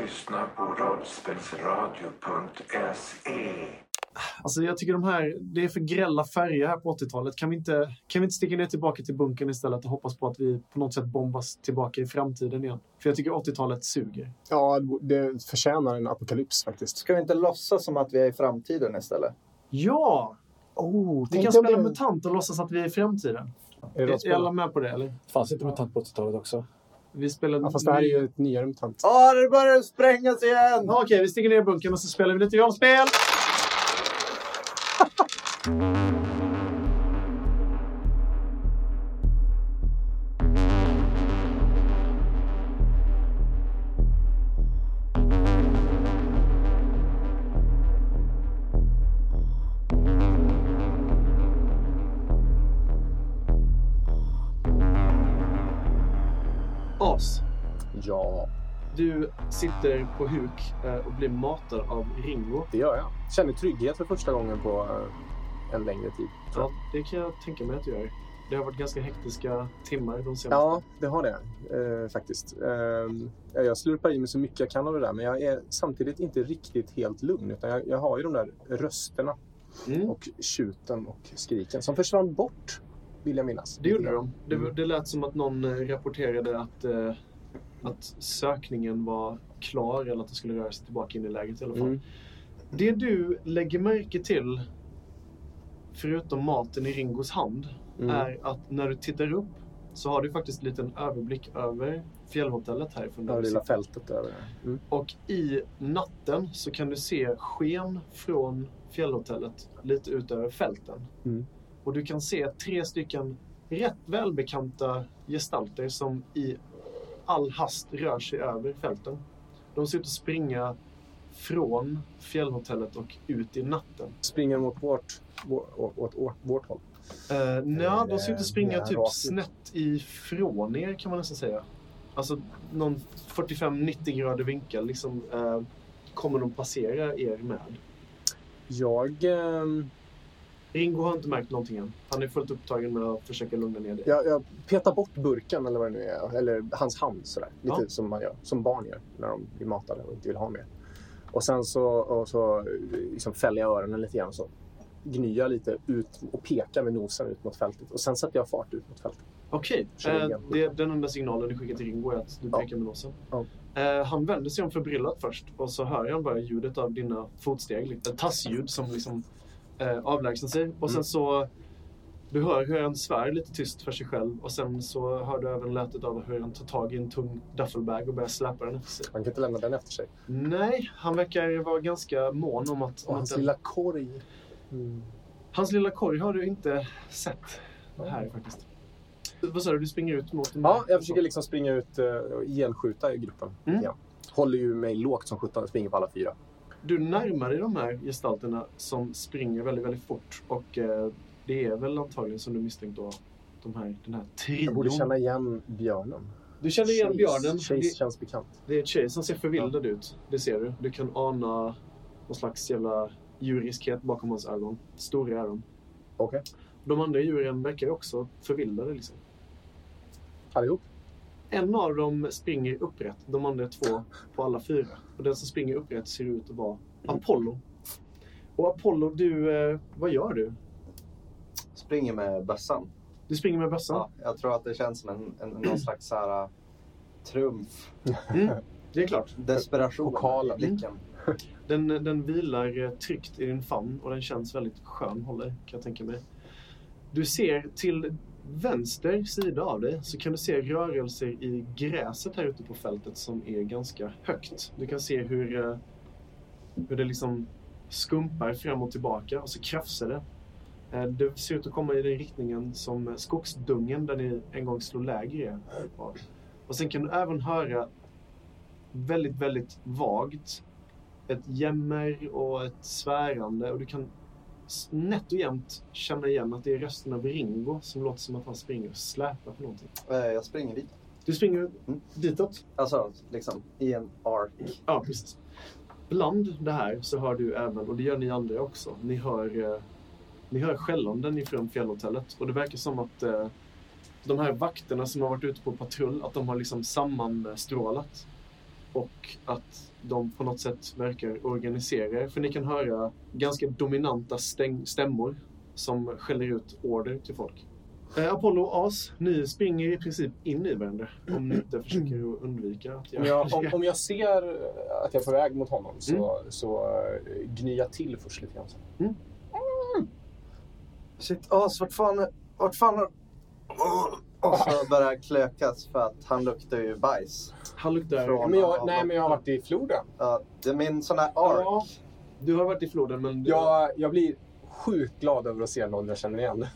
lyssnar på E. rollspelsradio.se. Alltså jag tycker de här, det är för grälla färger här på 80-talet. Kan vi, inte, kan vi inte sticka ner tillbaka till bunkern istället och hoppas på att vi på något sätt bombas tillbaka i framtiden igen? För jag tycker 80-talet suger. Ja, det förtjänar en apokalyps faktiskt. Ska vi inte låtsas som att vi är i framtiden istället? Ja! Oh, Vi kan spela MUTANT och låtsas att vi är i framtiden. Är det Är, är rollspel? alla med på det eller? Fanns inte MUTANT på 80-talet också? Vi spelar... Ja, fast det här är ju ett nyare MUTANT. Ja, det börjar sprängas igen! Ja, Okej, vi sticker ner i bunkern och så spelar vi lite rollspel! As. Ja, Du sitter på huk eh, och blir matad av Ringo. det gör jag. Känner trygghet för första gången på eh, en längre tid. tror Ja, jag. det kan jag tänka mig att du gör. Det har varit ganska hektiska timmar de senaste. Ja, det har det eh, faktiskt. Ehm, ja, jag slurpar i mig så mycket jag kan av det där, men jag är samtidigt inte riktigt helt lugn. Utan jag, jag har ju de där rösterna Mm. och tjuten och skriken som försvann bort, vill jag minnas. Det gjorde de. Det, Mm. det lät som att någon eh, rapporterade att, eh, att sökningen var klar eller att det skulle röra sig tillbaka in i lägret i alla fall. Mm. Det du lägger märke till, förutom maten i Ringos hand, Mm. är att när du tittar upp så har du faktiskt en liten överblick över fjällhotellet härifrån. där Det du lilla sitter. fältet där. ja. Mm. Och i natten så kan du se sken från fjällhotellet lite ut över fälten. Mm. Och du kan se tre stycken rätt välbekanta gestalter som i all hast rör sig över fälten. De ser ut att springa från fjällhotellet och ut i natten. Springer mot vårt, vår, åt, åt, åt vårt håll. Uh, nej, de ser ut Eh, att springa mer typ rakt ut. snett ifrån er kan man nästan säga. Alltså någon 45-90 grader vinkel liksom, eh, kommer de passera er med. Jag, ehm, Ringo har inte märkt någonting än. Han är fullt upptagen med att försöka lugna ner dig. jag, jag petar bort burken eller vad det nu är, eller hans hand sådär. Lite Ja. som man gör, som barn gör när de blir matade och inte vill ha mer. Och sen så, och så liksom fäller jag öronen lite grann och så gnyr jag lite ut och pekar med nosen ut mot fältet. Och sen sätter jag fart ut mot fältet. Okej, Kör eh, igen. det- den enda signalen du skickar till Ringo är att du Ja. pekar med nosen. Ja. Eh, han vänder sig om förbryllat först och så hör han bara ljudet av dina fotsteg. Ett tassljud som liksom eh, avlägsnar sig. Och sen Mm. så du hör hur han svär lite tyst för sig själv och sen så hör du även lätet av hur han tar tag i en tung duffelbag och börjar släpa den efter sig. Man kan inte lämna den efter sig. Nej, han verkar vara ganska mån om att... Och om hans att den- lilla korg. Mm. hans lilla korg har du inte sett här faktiskt. Vad sa du? Du springer ut mot... den Ja, här- jag försöker liksom springa ut eh, och genskjuta i gruppen. Mm. Ja. Håller ju mig lågt som sjutton och springer på alla fyra. Du närmar dig de här gestalterna som springer väldigt, väldigt fort och eh, det är väl antagligen som du misstänkt då de här, den här Jag borde trion. känna igen björnen. Du känner igen Chase- björnen. Chase Det, känns bekant. det är ett tjej som ser förvildad ut. Det ser du. Du kan ana någon slags jävla djuriskhet bakom hans ögon. Stora är de. Okej. De andra djuren verkar ju också förvildade liksom. Allihop? En av dem springer upprätt. De andra två på alla fyra. Och den som springer upprätt ser ut att vara Apollo. Och Apollo, du, eh, vad gör du? Springer med bössan. Du springer med bössan? Ja, jag tror att det känns som en, en, någon slags så här, uh, trumf. Mm, det är klart. Desperation Pokalen. i blicken. Den, den vilar eh, tryggt i din famn och den känns väldigt skön håller, kan jag tänka mig. Du ser till vänster sida av dig så kan du se rörelser i gräset här ute på fältet som är ganska högt. Du kan se hur, eh, hur det liksom skumpar fram och tillbaka och så krafsar det. Eh, Det ser ut att komma i den riktningen som eh, skogsdungen där ni en gång slog läger är. var. Och sen kan du även höra väldigt, väldigt vagt ett jämmer och ett svärande och du kan nätt och jämnt känna igen att det är rösten av Ringo som låter som att han springer och släpar på någonting. Eh, Jag springer dit. Du springer Mm. ditåt? Alltså, liksom i en ark. Ja, precis. Bland det här så hör du även, och det gör ni andra också, ni hör, eh, ni hör skällanden ifrån fjällhotellet och det verkar som att eh, de här vakterna som har varit ute på patrull, att de har liksom sammanstrålat. och att de på något sätt verkar organisera er. För ni kan höra ganska dominanta stäng- stämmor som skäller ut order till folk. Eh, Apollo och As, ni springer i princip in i varandra om ni inte försöker att undvika att Om göra jag, om, det. om jag ser eh, att jag är på väg mot honom så, så eh, gnyr jag till först lite grann. så. Shit, as, vart fan... Vart fan har... Och så börjar jag klökas för att han luktar ju bajs. Han luktar... Från- Ja, men jag, nej, men jag har varit i floden. Ja, det är min sån här ark. Ja. Du har varit i floden men... Du... Jag, jag blir sjukt glad över att se någon jag känner igen.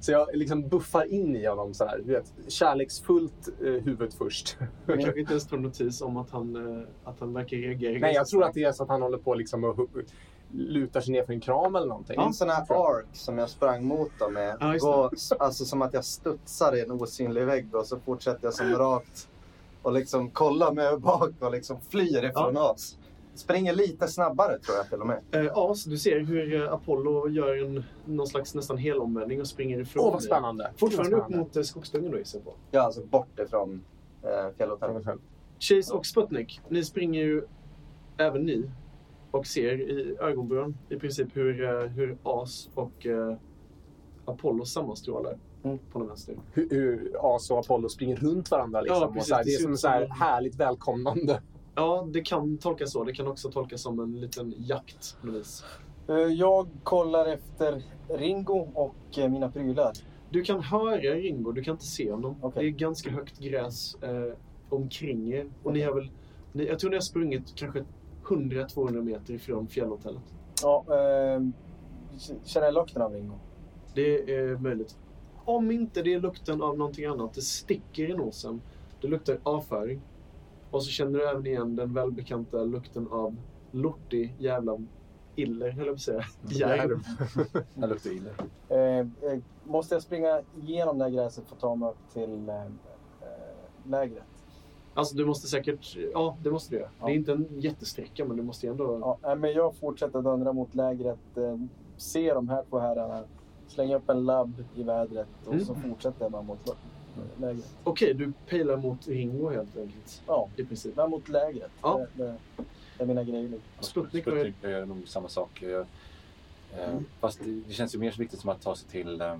Så jag liksom buffar in i honom så här. Du vet, kärleksfullt eh, huvud först. Jag kanske inte ens tar notis om att han, eh, att han verkar reagera. Nej, ganska jag tror starkt. att det är så att han håller på liksom och hu- lutar sig ner för en kram eller någonting. Min sån här ark som jag sprang mot dem med. Ja, just det. går, alltså som att jag studsar i en osynlig vägg och så fortsätter jag som rakt. Och liksom kollar mig bak och liksom flyr ifrån as. Springer lite snabbare tror jag till och med. Eh, As, du ser hur eh, Apollo gör en, någon slags nästan helomvändning och springer ifrån Åh, vad dig. spännande! Fortfarande Vad upp spännande. mot eh, skogsdungen då gissar jag på. Jag är alltså bort ifrån eh, fjällhotellet. Chase och Sputnik, ni springer ju även ni och ser i ögonbrån i princip hur, eh, hur As och eh, Apollo sammanstrålar Mm. på den vänster. Hur, hur As och Apollo springer runt varandra. Liksom. Ja, och precis. så här, Det det är ser som ut så här som- härligt välkomnande. Ja, det kan tolkas så. Det kan också tolkas som en liten jakt på något vis. Eh, Jag kollar efter Ringo och eh, mina prylar. Du kan höra Ringo, du kan inte se honom. Okej. Det är ganska högt gräs eh, omkring er. Och ni har väl, ni, jag tror ni har sprungit kanske 100-200 meter ifrån fjällhotellet. Ja, eh, känner jag lukten av Ringo? Det är möjligt. Om inte det är lukten av någonting annat. Det sticker i nosen. Det luktar avföring. Och så känner du även igen den välbekanta lukten av lortig jävla iller, höll jag på att säga. Järv. Jag luktar illa. Eh, eh, måste jag springa igenom det här gräset för att ta mig upp till eh, eh, lägret? Alltså du måste säkert, ja det måste du göra. Ja. Det är inte en jättesträcka men du måste ju ändå... Ja, nej, men jag fortsätter dundra mot lägret, eh, ser de här två herrarna, slänger upp en labb i vädret och Mm. så fortsätter jag bara mot lo- lägret. Okej, du pejlar mot Ringo helt enkelt. Ja, I princip. men mot lägret. Ja. Det, det, det är mina grejer. nu. Sputnik var ju... Mm. Sputnik gör nog samma sak. Jag, eh, Fast det, det känns ju mer så viktigt som att ta sig till, eh,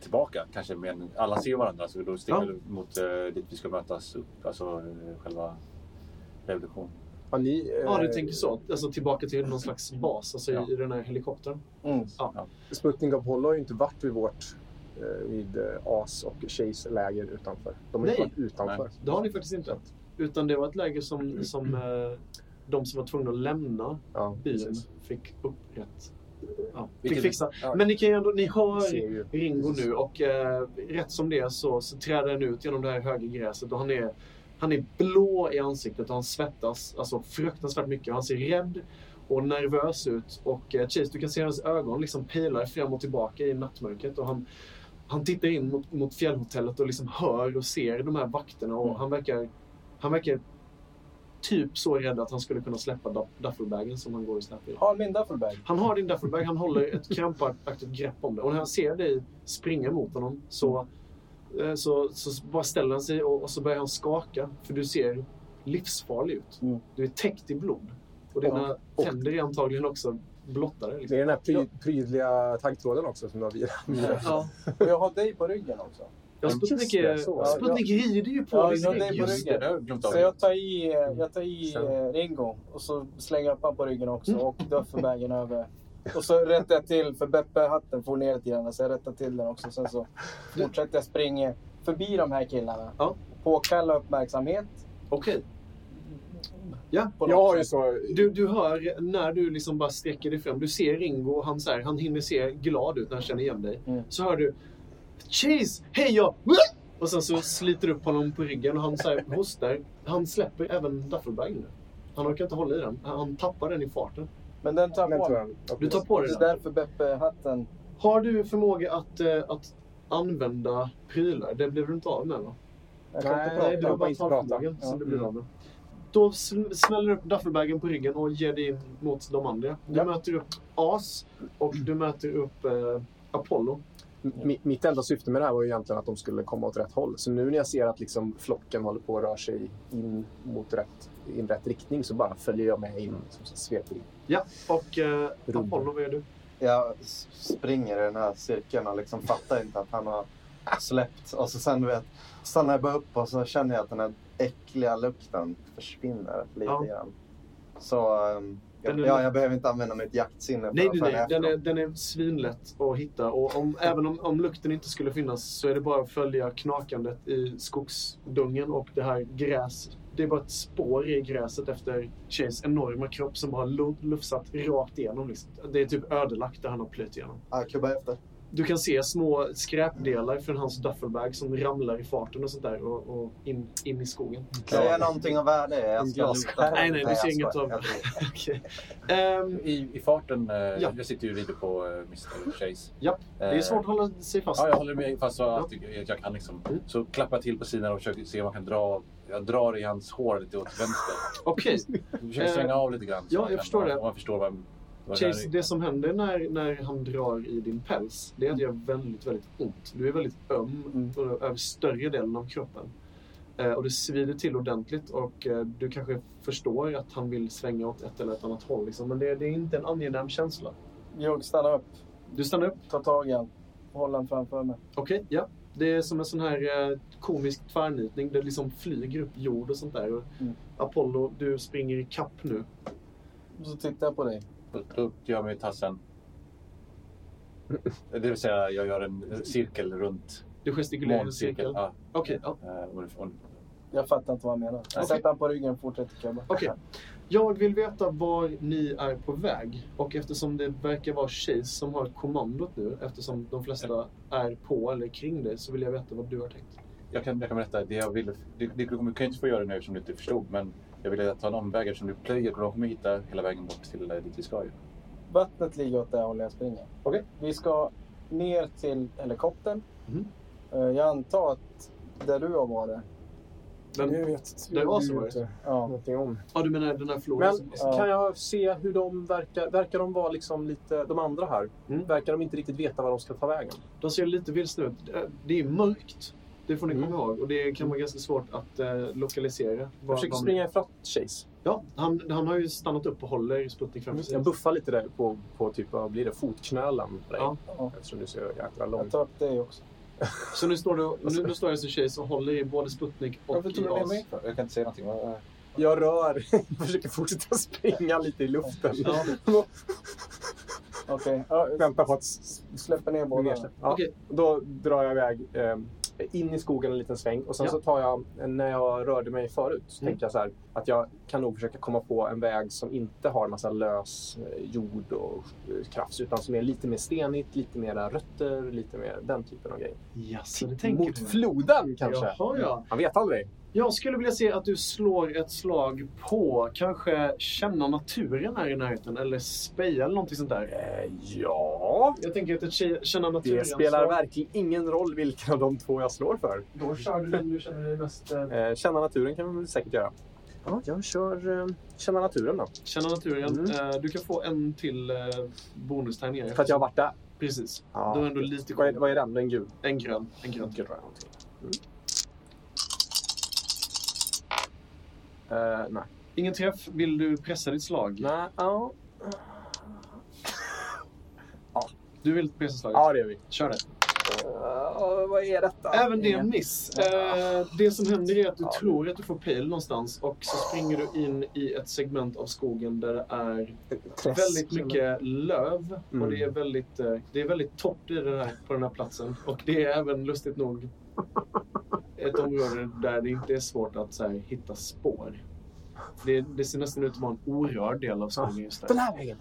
tillbaka. Kanske med, en- alla ser ju varandra så då sticker Ja. vi mot eh, dit vi ska mötas upp. Alltså eh, själva revolutionen. Har ni, eh, Ja, du tänker så. Alltså tillbaka till någon slags bas, alltså Ja. i, i den här helikoptern. Mm. Sputnik och Apollo har ju inte varit vid vårt eh, vid eh, As och Chase läger utanför. De har ju inte Nej. varit utanför. Det har ni faktiskt inte. Utan det var ett läge som, som eh, de som var tvungna att lämna Ja, byn precis. fick upprätt. Ja, fick Vilket- fixa. ja. Men ni kan ju ändå, ni Vi hör ser ju. Ringo nu och eh, rätt som det är så, så träder han ut genom det här höga gräset och han är, han är blå i ansiktet och han svettas alltså, fruktansvärt mycket. Han ser rädd och nervös ut och eh, Chase, du kan se hans ögon liksom pilar fram och tillbaka i nattmörkret och han, han tittar in mot, mot fjällhotellet och liksom hör och ser de här vakterna och han verkar, han verkar typ så rädd att han skulle kunna släppa duff- duffelbagen som han går och släpper i. Har min duffelbag? Han har din duffelbag, han håller ett krampaktigt grepp om det. Och när han ser dig springa mot honom så, eh, så, så bara ställer han sig och, och så börjar han skaka. För du ser livsfarlig ut. Mm. Du är täckt i blod. Och Ja. dina Och- tänder är antagligen också blottade. Det Liksom. är den här pry, prydliga taggtråden också som du har virat. Ja. Och jag har dig på ryggen också. Ja, Just Sputnik, det, är- så. Sputnik rider ju på Ja, din ja, rygg. det är på Just Just det, ryggen. det har jag glömt av. Så jag tar i, jag tar i Mm. eh, Ringo och så slänger jag upp han på ryggen också och duffelbagen över. Och så rättar jag till, för Beppe-hatten får ner lite grann, så jag rättar till den också. Sen så fortsätter jag springa förbi de här killarna. Ja. Påkalla uppmärksamhet. Okej. På Jag något har ju sätt. så... Du, du hör när du liksom bara sträcker dig fram. Du ser Ringo och han, så här, han hinner se glad ut när han känner igen dig. Mm. Så hör du Chase, hej jag! Och sen så sliter du upp honom på ryggen och han så här, hostar. Han släpper även duffelbagen nu. Han orkar inte hålla i den. Han tappar den i farten. Men den tar Den på tror mig. jag. Du tar på Det dig är den. därför Beppe-hatten... Har du förmåga att, eh, att använda prylar? Det blev du inte av med va? Jag kan Nej, inte Nej, det prata. var jag får bara inte prata. talförmågan som Ja. du blev av med. Då sm- smäller du upp duffelbagen på ryggen och ger dig in mot de andra. Du Ja. möter upp As och du möter upp eh, Apollo. mi- mitt enda syfte med det här var ju egentligen att de skulle komma åt rätt håll. Så nu när jag ser att liksom flocken håller på att röra sig in mot rätt, in rätt riktning så bara följer jag med in. Liksom, så sveper in. Ja, och eh, Rubb. Apollo, vad gör du? Jag s- springer i den här cirkeln och liksom fattar inte att han har släppt. Och så sen du vet, stannar jag bara upp och så känner jag att den här äckliga lukten försvinner lite Ja. grann. Så ehm, jag, Den är- ja, jag behöver inte använda mitt jaktsinne för Nej, att nej, följa nej. efter Den är, dem. den är svinlätt att hitta. Och om, även om, om lukten inte skulle finnas så är det bara att följa knakandet i skogsdungen och det här gräs. Det är bara ett spår i gräset efter Chases enorma kropp som bara lu- lufsat rakt igenom. Liksom. Det är typ ödelagt där han har plöjt igenom. Ja, jag kubbar efter. Du kan se små skräpdelar från hans duffelbag som ramlar i farten och sånt där och, och in, in i skogen. Ser jag någonting av värde? Jag ska glasskärm. luta. Nej, nej, du jag ser inget skojar. av- Jag tror- Okej. Ehm, I, i farten, eh, Ja. jag sitter ju och rider på eh, Mr. Chase. Eh, Ja, det är svårt att hålla sig fast. Ja, jag håller med fast så Ja. att jag, jag kan liksom. Mm. Så klappar jag till på sidan och försöker se om man kan dra. Jag drar i hans hår lite åt vänster. Okej, Jag försöker Eh, svänga av lite grann. så ja, man jag kan- förstår det. Om man förstår vad, vad det Chase, är. det som händer när, när han drar i din päls, det är att det gör väldigt, väldigt ont. Du är väldigt öm Mm. och över större delen av kroppen. Eh, och det svider till ordentligt och eh, du kanske förstår att han vill svänga åt ett eller ett annat håll. Liksom. Men det, det är inte en angenäm känsla. Jag stannar upp, Du stannar upp. tar tag i han, håller han framför mig. Okej, ja. Det är som en sån här eh, komisk tvärnitning. Det liksom flyger upp jord och sånt där. Och Mm. Apollo, du springer i kapp nu. Och så tittar jag på dig. Upp- Upp gör mig i tassen. Det vill säga jag gör en cirkel runt Du gestikulerar i måncirkeln. cirkel. Ja, Okej, ja. eh, och- och- Jag fattar inte vad han menar. Jag Okej. sätter han på ryggen och fortsätter kubba. Okej. Jag vill veta var ni är på väg. Och eftersom det verkar vara Chase som har kommandot nu, eftersom de flesta är på eller kring dig, så vill jag veta vad du har tänkt. Jag kan, jag kan berätta det jag ville. Det, det, du kan ju inte få göra det nu eftersom du inte förstod, men jag ville ta en omväg eftersom du plöjer och de kommer hitta hela vägen bort till eh, dit vi ska. ju. Vattnet ligger åt det hållet jag springer. Okej. Vi ska ner till helikoptern. Mhm. Eh, Jag antar att där du har varit. Men, Nu vet Det var så ju var det. inte Ja. någonting om. ja, du menar den här floden? Men som- kan jag se hur de verkar? Verkar de vara liksom lite, de andra här, Mm. verkar de inte riktigt veta var de ska ta vägen? De ser lite vilsna ut. Det- Det är mörkt. Det får ni Mm. komma ihåg. Och det kan vara ganska svårt att eh, lokalisera. Jag var- försöker var- springa ifatt Chase. Ja, han, han har ju stannat upp och håller Sputnik framför sig. Mm, Jag buffar lite där på, på typ, vad blir det, fotknölen på dig. Ja. Eftersom du ser jäkla Jag lång tar upp dig också. Så nu står, du, nu, nu står jag som Chase och håller i både Sputnik och Varför tog du med JAS. mig? för? Jag kan inte säga någonting. Vad- Jag rör, försöker fortsätta springa lite i luften. Ja. Okej. Ja, Väntar på att s- Släpper ner Båda. båda. Mm. Ja. Okej. Då drar jag iväg eh, in i skogen en liten sväng och sen Ja. så tar jag, när jag rörde mig förut, så Mm. tänkte jag så här att jag kan nog försöka komma på en väg som inte har massa lös eh, jord och eh, krafs utan som är lite mer stenigt, lite mer rötter, lite mer den typen av grejer. Jaså, det tänker Mot du? floden kanske? Jaha, ja. Man vet aldrig. Jag skulle vilja se att du slår ett slag på kanske känna naturen här i närheten eller speja eller någonting sånt där. Eh, ja, Jag tänker att ett tje- känna naturen. det spelar slag- verkligen ingen roll vilken av de två jag slår för. Då kör du den du känner dig mest... Eh, Eh, känna naturen kan vi väl säkert göra. Ja, jag kör eh, känna naturen då. känna naturen. Mm. Eh, du kan få en till eh, bonustärning. För att jag har varit där. Precis. Ja. Du har ändå lite Vad är, koll. vad är den? Den gul? En grön. En grön. Gul tror jag. någonting. Mm. Eh, nej. Ingen träff. Vill du pressa ditt slag? Nej, ja. Du vill pressa slaget? Ja, det gör vi. Kör det. Eh, vad är detta? Även det är en miss. Eh, det som händer är att du Ja. tror att du får pejl någonstans och så springer du in i ett segment av skogen där det är Träsk. väldigt mycket löv och Mm. det är väldigt, eh, det är väldigt torrt i den här, på den här platsen. Och det är även lustigt nog ett område där det inte är svårt att så här, hitta spår. Det, det ser nästan ut att vara en orörd del av skogen just där. Den här vägen.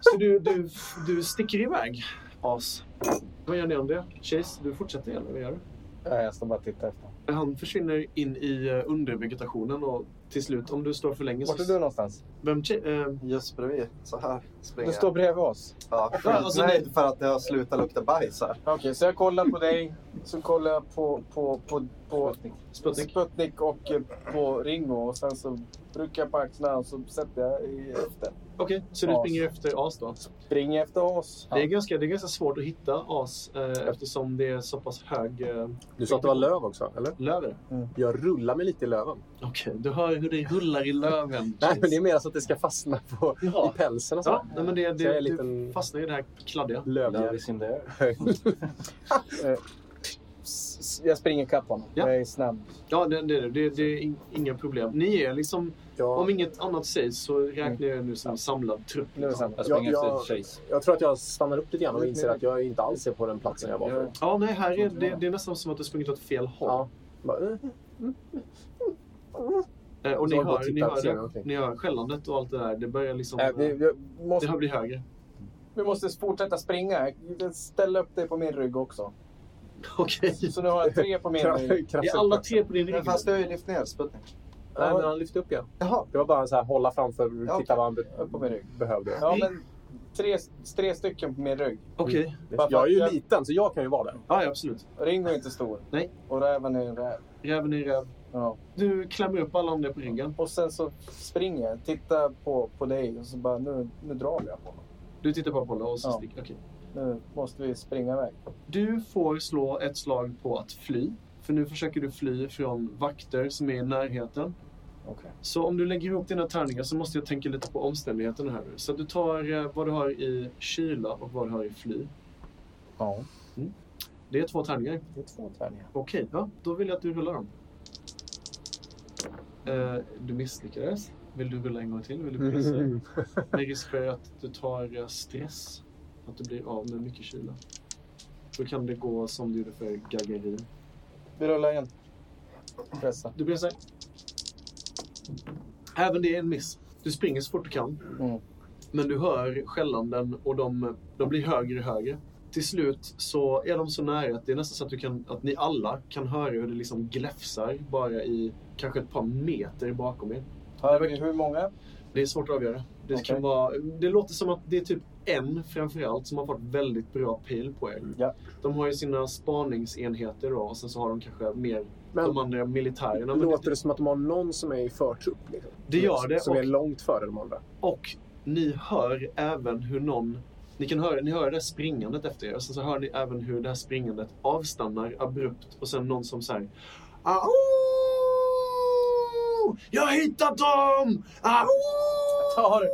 Så du, du, du sticker iväg, as. Vad gör ni om det? Chase, du fortsätter igen. Vad gör du? Ja, jag står bara och tittar efter. Han försvinner in i eh, undervegetationen eh, och till slut, om du står för länge Vart är så... du någonstans? Vem... che- eh, Just bredvid. Så här springer Du står jag. bredvid oss. Ja, alltså, skitnöjd för att det har slutat lukta bajs här. Okej, så jag kollar på dig. Så kollar jag på, på, på, på Sputnik. Sputnik och eh, på Ringo. Och sen så rycker jag på axlarna och så sätter jag i efter. Okej, så du As. springer efter as då? Spring efter oss. Det, är ganska, det är ganska svårt att hitta as eh, eftersom det är så pass hög eh, Du sa att det var löv också, eller? löver. Jag rullar mig lite i löven. Okej, du hör hur det rullar i löven. Nej, men det är mer så att det ska fastna på, Ja. i pälsen och så. Ja, nej, men det, Så jag det, är liten- du fastnar i det här kladdiga. Love Lövjävel. is in the air. S- s- Jag springer ikapp honom. Ja. Jag är snabb. Ja, det, det, det, det är in- inga problem. Ni är liksom, Jag, om inget annat sägs så räknar jag nu som en samlad trupp. Nu är det sant. Jag Ja, springer jag- efter Chase. jag tror att jag stannar upp lite grann och inser att jag inte alls är på den platsen jag var förut. Ja, nej, här är det, det är nästan som att du sprungit åt fel håll. Ja. Bara, eh, Eh, och ni Så jag går och hör, ni, tittar och ser hör det, någonting. ni hör skällandet och allt det där. Det börjar liksom... Äh, vi, vi, Det måste, här blir högre. vi måste fortsätta springa. Ställ upp dig på min rygg också. Okej. Så nu har jag tre på min rygg. krafsigt. Är alla tre på din Men rygg? fast du har ju lyft ner Sputnik. Nej, men han lyfte upp igen. Jaha. Det var bara så här, hålla framför, titta Ja, okej. vad han be- Upp på min rygg. behövde. Ja, men tre, tre stycken på min rygg. Okej. Jag är ju liten, så jag kan ju vara där. Ja, ja, absolut. Ringo är inte stor. Nej. Och räven är en räv. Räven i räv. Ja. Du klämmer upp alla andra på ryggen. Och sen så springer jag, tittar på, på dig och så bara nu, nu drar jag på honom. Du tittar bara på Apollo och så Ja. sticker. Okej. Nu måste vi springa iväg. Du får slå ett slag på att fly. För nu försöker du fly från vakter som är i närheten. Okej. Så om du lägger ihop dina tärningar så måste jag tänka lite på omständigheterna här nu. Så att du tar eh, vad du har i kyla och vad du har i fly. Mm. Ja. Det är två tärningar. Det är två tärningar. Okej, ja, då vill jag att du rullar dem. Eh, du misslyckades. Vill du rulla en gång till? Vill du pressa? Med risk för att du tar eh, stress. Att du blir av med mycket kyla. Då kan det gå som du gjorde för Gagarin. Vi rullar igen. Pressa. Du pressar. Även det är en miss. Du springer så fort du kan. Mm. Men du hör skällanden och de, de blir högre och högre. Till slut så är de så nära att det är nästan så att, du kan, att ni alla kan höra hur det liksom gläfsar bara i kanske ett par meter bakom er. Hör vi hur många? Det är svårt att avgöra. Det, Okej. kan vara, det låter som att det är typ en framförallt som har fått väldigt bra pil på er. Ja. De har ju sina spaningsenheter då och sen så har de kanske mer Men de andra militärerna. Men låter det, det som att de har någon som är i förtrupp? Liksom. det gör det. Som och- är långt före de andra. Och ni hör även hur någon... Ni kan höra ni hör det här springandet efter er. Sen så hör ni även hur det här springandet avstannar abrupt. Och sen någon som säger... Au! Jag har hittat dem! Au! Tar.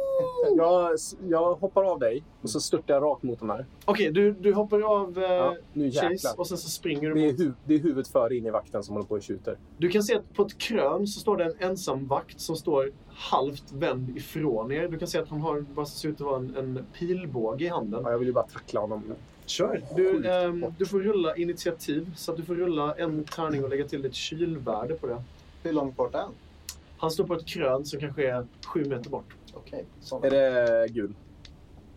Jag, jag hoppar av dig och så störtar jag rakt mot de här. Okej, du, du hoppar av eh, Ja, nu Chase jäklar. och sen så springer du. Det är, mot- hu- det är huvudet före in i vakten som håller på och tjuter. Du kan se att på ett krön så står det en ensam vakt som står halvt vänd ifrån er. Du kan se att han har vad som ser ut att vara en, en pilbåge i handen. Ja, jag vill ju bara tackla honom. Kör! Du, ehm, du får rulla initiativ, så att du får rulla en tärning och lägga till ett kylvärde på det. Hur långt bort är han? Han står på ett krön som kanske är sju meter bort. Okej. så. Är det gul?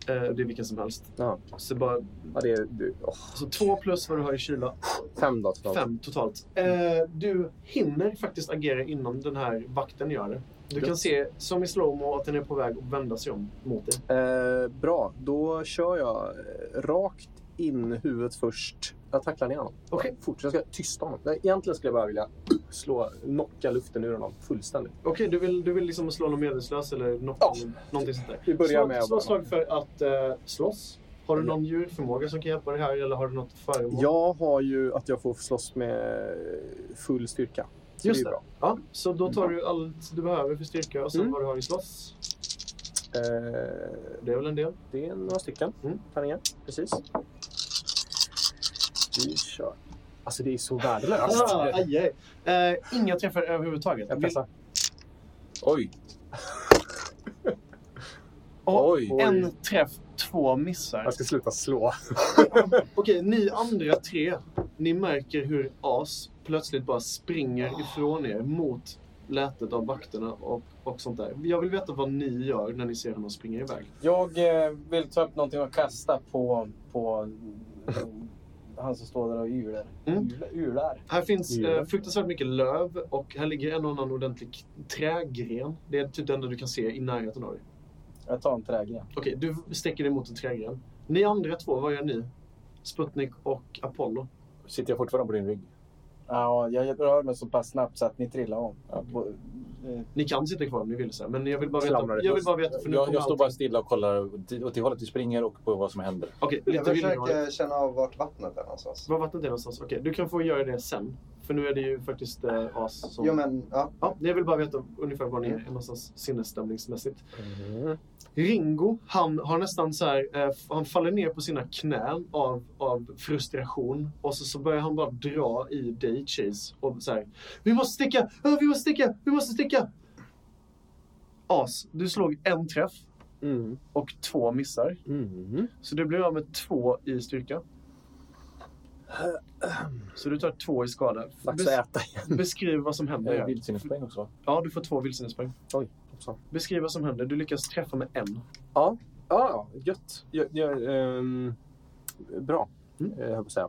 Eh, det är vilken som helst. Ja. Så bara, Ja, det är du. Åh, så två plus vad du har i kyla, fem då totalt. fem totalt. Eh, du hinner faktiskt agera innan den här vakten gör det. Du kan se, som i slowmo, att den är på väg att vända sig om mot dig. Eh, bra, då kör jag eh, rakt in huvudet först. Jag tacklar ner honom. Okej. Fort, jag ska tysta honom. Nej, Egentligen skulle jag bara vilja slå, knocka luften ur honom fullständigt. Okej, du, vill, du vill liksom slå någon medelslös eller något, Ja. någonting sånt där? Vi börjar slå, med... slå slag för att eh, slåss. Har du någon djurförmåga som kan hjälpa dig här eller har du något föremål? Jag har ju att jag får slåss med full styrka. Så Just det. Är bra. Ja, så då tar du allt du behöver för styrka och sen Mm. vad du har i slåss. Eh, Det är väl en del. det är några stycken Mm. tärningar. Precis. Vi kör. Alltså det är så värdelöst. Ah, aj, aj. Eh, inga träffar överhuvudtaget. Jag pressar. Oj! Och Oj! En träff, två missar. Jag ska sluta slå. Okej, ni andra tre, ni märker hur As plötsligt bara Ah. springer ifrån er mot lätet av vakterna och, och sånt där. Jag vill veta vad ni gör när ni ser honom springa iväg. Jag eh, vill ta upp någonting och kasta på, på eh, han som står där och ylar. Mm. Yla- Ylar. Här finns eh, Djur. fruktansvärt mycket löv och här ligger en och annan ordentlig k- trägren. Det är typ det enda du kan se i närheten av dig. Jag tar en trägren. Okej, du sträcker dig mot en trägren. Ni andra två, vad gör ni? Sputnik och Apollo. Sitter jag fortfarande på din rygg? Ja, jag rör mig så pass snabbt så att ni trillar om. Okej. Bo- eh, Ni kan sitta kvar om ni vill, så här, men jag vill bara Slamrar veta. det Jag vill fast. bara veta för nu Jag, kommer jag står allt- bara stilla och kollar åt åt det hållet vi springer och på vad som händer. Okej, Jag lite viljehållet. försöker känna av vart vattnet är någonstans. Var vattnet är någonstans? Okej, du kan få göra det sen. För nu är det ju faktiskt eh, As som... Jo, men ja. Ja, jag vill bara veta ungefär var ni är någonstans sinnesstämningsmässigt. Mm. Ringo, han har nästan så här, eh, f- han faller ner på sina knän av, av frustration och så, så börjar han bara dra i dig Chase och så här, vi måste sticka, Ja, vi måste sticka, vi måste sticka. As, du slog en träff Mm. och två missar. Mm. Så du blir av med två i styrka. Så du tar två i skada. Dags att äta igen. beskriv vad som händer. Eh, här. Vildsinnespoäng också. Ja, du får två vildsinnespoäng. också. Beskriv vad som händer. Du lyckas träffa med en. Ja, ja, gött. Jag, jag, ehm, bra, Mm. mm. jag höll på att säga.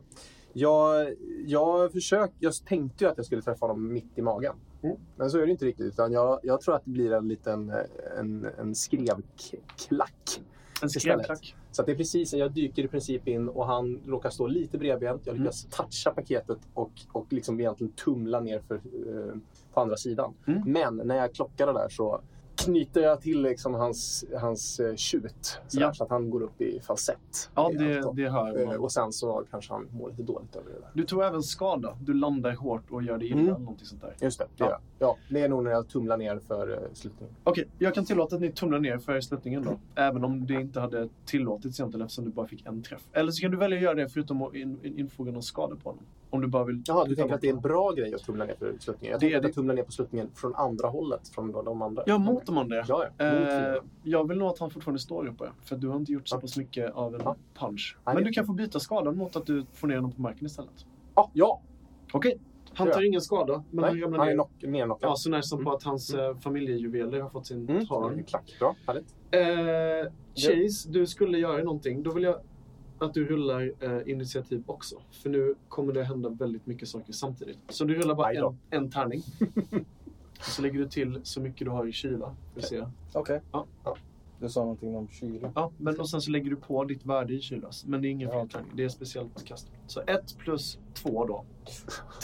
Jag, jag, försök, jag tänkte ju att jag skulle träffa honom mitt i magen. Mm. Men så är det inte riktigt. Utan jag, jag tror att det blir en liten eh, en, en skrevklack. En Istället. skrämklack. Så att det är precis, jag dyker i princip in och han råkar stå lite bredbent. Jag lyckas toucha paketet och, och liksom egentligen tumla ner för, eh, på andra sidan. Mm. Men när jag klockar det där så knyter jag till liksom hans, hans eh, tjut så, Ja. där, så att han går upp i falsett. Ja, i det, allt det hör då. Eh, man. Och sen så kanske han mår lite dåligt över det där. Du tog även skada. Du landar hårt och gör dig illa. Mm. eller Någonting sånt där. Just det, det Ja. gör jag. Ja, det är nog när jag tumlar ner för eh, slutningen. Okej, jag kan tillåta att ni tumlar ner för sluttningen då. Även om det inte hade tillåtits egentligen eftersom du bara fick en träff. Eller så kan du välja att göra det förutom att in, in, infoga någon skada på honom. Om du bara vill... Jaha, du tänker att det är en bra grej att tumla ner för slutningen? Jag Det är tänker att det. jag tumlar ner på slutningen från andra hållet, från de- de andra. Ja, mot de andra. Ja, ja. Mot Eh, sidan. jag vill nog att han fortfarande står uppe. För du har inte gjort så Ja. pass mycket av en Ja. punch. Ja, Men det- du kan få byta skadan mot att du får ner honom på marken istället. Ah, ja, Okej. Han Det gör tar ingen skada, men han Nej, ramlar han är ner. knock, nerknockad. Ja, så när som på att hans eh, familjejuveler har fått sin Mm. törn. Klack, bra. Härligt. Eh, Chase, du skulle göra någonting. Då vill jag att du rullar eh, initiativ också. För nu kommer det hända väldigt mycket saker samtidigt. Så du rullar bara Aj då. en, en tärning. så lägger du till så mycket du har i kyla. Får vi se. Okej. Ja. Ja. Du sa någonting om kyla. Ja, men och sen så lägger du på ditt värde i kyla. Men det är ingen Ja. fel tärning. Det är speciellt kast. Så ett plus två då.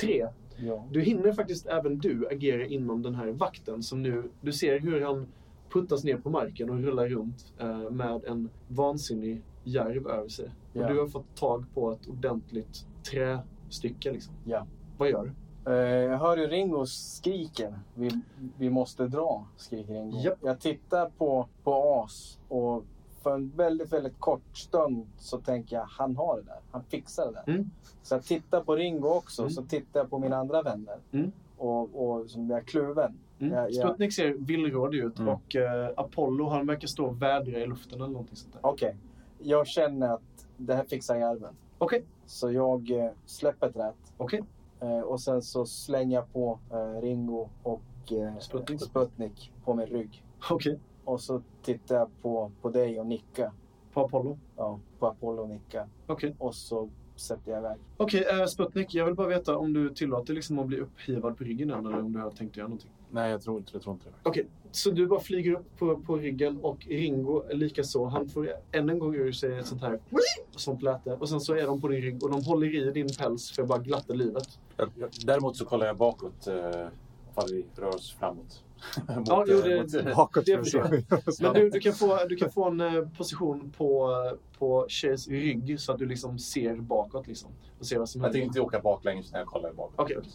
Tre. Ja. Du hinner faktiskt även du agera inom den här vakten som nu, du ser hur han puttas ner på marken och rullar runt eh, med en vansinnig järv över sig. Ja. Och du har fått tag på ett ordentligt trästycke liksom. Ja. Vad gör du? Eh, Jag hör ju Ringo skriker. Vi, vi måste dra, skriker Ringo. Japp. Jag tittar på, på As och för en väldigt, väldigt kort stund så tänker jag han har det där. Han fixar det där. Mm. Så jag tittar på Ringo också. Mm. Så tittar jag på mina andra vänner. Mm. Och, och som jag är kluven. Mm. Ja, ja. Sputnik ser villrådig ut Mm. och eh, Apollo han verkar stå och vädra i luften eller någonting sånt där. Okej, jag känner att det här fixar järven. Okej. Så jag eh, släpper trät. Okej. Eh, och sen så slänger jag på eh, Ringo och eh, Sputnik. Sputnik på min rygg. Okej. Och så tittar jag på, på dig och nickar. På Apollo. Ja, på Apollo och nickar. Okej. Och så sätter jag iväg. Okej, eh, Sputnik, jag vill bara veta om du tillåter liksom att bli upphivad på ryggen än eller om du har tänkt göra någonting. Nej, jag tror inte, jag tror inte det. Så du bara flyger upp på, på ryggen och Ringo likaså. Han får än en gång ur sig ett sånt här sånt läte. Och sen så är de på din rygg och de håller i din päls för att bara glatta livet. Jag, jag, däremot så kollar jag bakåt eh, ifall vi rör oss framåt. mot, Ja, jo, eh, det- mot, eh, Bakåt. det förstår Men du, du, kan få, du kan få en eh, position på, på tjejs rygg så att du liksom ser bakåt liksom. Och ser vad som jag tänker händer. inte åka baklänges när jag kollar bakåt. Okej, okej.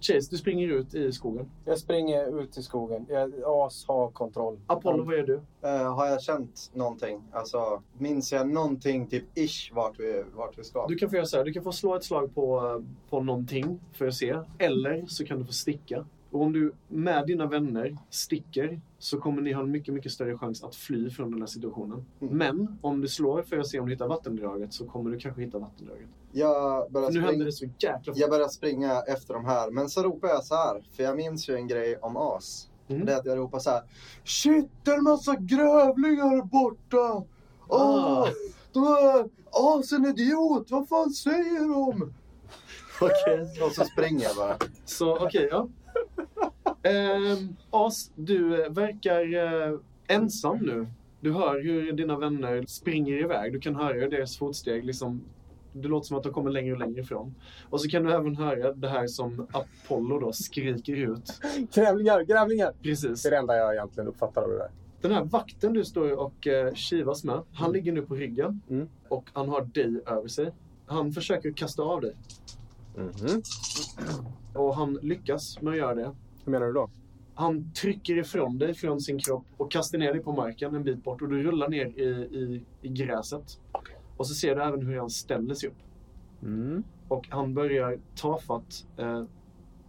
Chase, du springer ut i skogen. Jag springer ut i skogen. Jag, As har kontroll. Apollo, vad gör du? Eh, har jag känt någonting? Alltså, minns jag någonting typ ish vart vi, vart vi ska? Du kan få göra så här. Du kan få slå ett slag på, eh, på någonting för att se. Eller så kan du få sticka. Och om du med dina vänner sticker så kommer ni ha en mycket, mycket större chans att fly från den här situationen. Mm. Men om du slår för att se om du hittar vattendraget så kommer du kanske hitta vattendraget. Jag börjar För nu springa. händer det så jäkla fort. Jag börjar springa efter de här, men så ropar jag så här, för jag minns ju en grej om as. Mm. Det är att jag ropar så här. Shit, det är en massa grävlingar borta! Ah. Åh, "Åh, Asen idiot, vad fan säger de? Okej. Och så springer jag bara. Så okej, ja. Ehm, As, du eh, verkar eh, ensam nu. Du hör hur dina vänner springer iväg. Du kan höra deras fotsteg. Liksom, det låter som att de kommer längre och längre ifrån. Och så kan du även höra det här som Apollo då skriker ut. Grävlingar, grävlingar! Precis. Det är det enda jag egentligen uppfattar av det där. Den här vakten du står och eh, kivas med, han ligger nu på ryggen Mm. och han har dig över sig. Han försöker kasta av dig Mhm. och han lyckas med att göra det. Hur menar du då? Mm. Han trycker ifrån dig från sin kropp och kastar ner dig på marken en bit bort och du rullar ner i, i, i gräset. Och så ser du även hur han ställer sig upp Mm. och han börjar tafatt eh,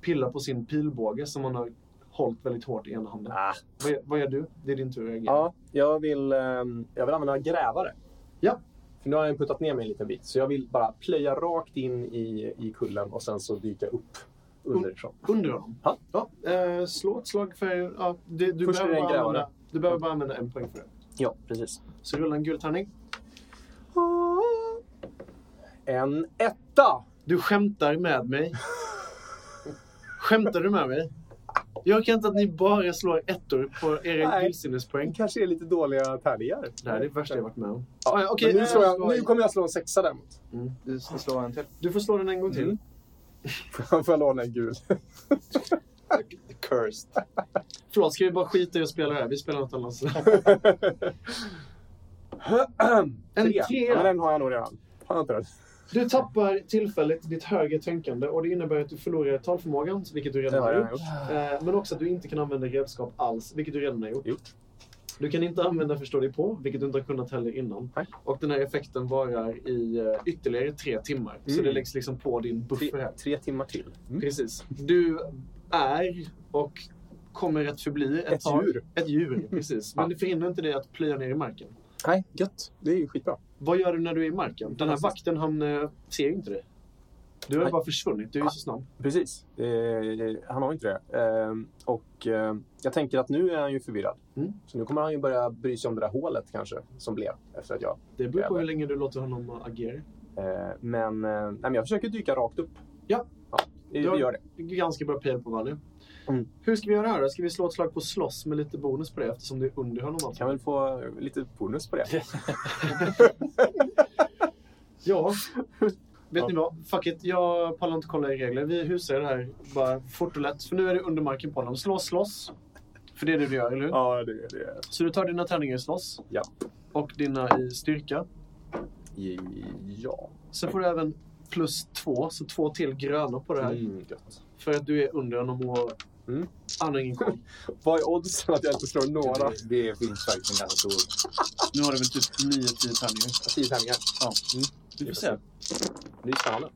pilla på sin pilbåge som han har hållit väldigt hårt i ena handen. Ah. Vad, gör- vad gör du? Det är din tur att reagera. Ja, jag vill, ehm, jag vill använda grävare. Ja. För nu har jag puttat ner mig en liten bit, så jag vill bara plöja rakt in i, i kullen och sen så dyka upp underifrån. Under honom? Ja. eh, slå ett slag för... Ja, du, du, Först är behöver det en bara grävare. använda, du behöver bara använda en poäng för det. Ja, precis. Så rulla en gul tärning. En etta! Du skämtar med mig. Skämtar du med mig? Jag kan inte att ni bara slår ettor på era Nej. Det gillsinnespoäng. kanske är lite dåliga tärningar. Det här är det värsta jag varit med om. Ja, Ah, ja, okej, men nu, eh, slår slå jag, nu i. kommer jag slå en sexa däremot. Du ska slå en till. Du får slå den en gång till. Mm. Får jag låna en gul? Cursed. Förlåt, ska vi bara skita i att spela det här? Vi spelar något annat. En Tre. trea. Ja, men den har jag nog redan. Har jag inte den? Du tappar tillfälligt ditt högre tänkande och det innebär att du förlorar talförmågan, vilket du redan Den har har jag gjort. redan gjort. Eh, Men också att du inte kan använda redskap alls, vilket du redan har gjort. Gjort. Du kan inte använda förstå dig på, vilket du inte har kunnat heller innan. Nej. Och den här effekten varar i eh, ytterligare tre timmar. Så Mm. det läggs liksom på din buffer här. Tre timmar till. Precis. Du är och kommer att förbli ett, Ett tag- djur. Ett djur, precis. Men det förhindrar inte dig att plöja ner i marken. Nej, gött. Det är ju skitbra. Vad gör du när du är i marken? Den här vakten, han eh, ser inte dig. Du har ju Nej. bara försvunnit. Du är ju Ah. så snabb. Precis. Eh, han har ju inte det. Eh, och eh, jag tänker att nu är han ju förvirrad. Mm. Så nu kommer han ju börja bry sig om det där hålet kanske, som blev efter att jag... Det beror på hur länge du låter honom eh, agera. Eh, men, eh, nej, men jag försöker dyka rakt upp. Ja. ja vi, Du har- vi gör det. ganska bra pil på Valle. Mm. Hur ska vi göra här då? Ska vi slå ett slag på slåss med lite bonus på det eftersom det är under honom? Alltså? Kan väl få lite bonus på det. Ja. Vet Ja. ni vad? Fuck it. Jag pallar inte kolla i regler. Vi husar det här bara fort och lätt. För nu är det under marken på honom. Slå, slåss. För det är det du gör, eller hur? ja, det, det. Så du tar dina tärningar i slåss. Ja. Och dina i styrka. Ja. Sen får du även plus två, så två till gröna på det här. Mm, gött. För att du är under honom och Mm. han har ingen koll. Vad är oddsen att jag inte slår några? Det, det finns faktiskt en ganska stor... Nu har du väl typ nio, tio tärningar. Tio tärningar. Vi får se. Det är spännande.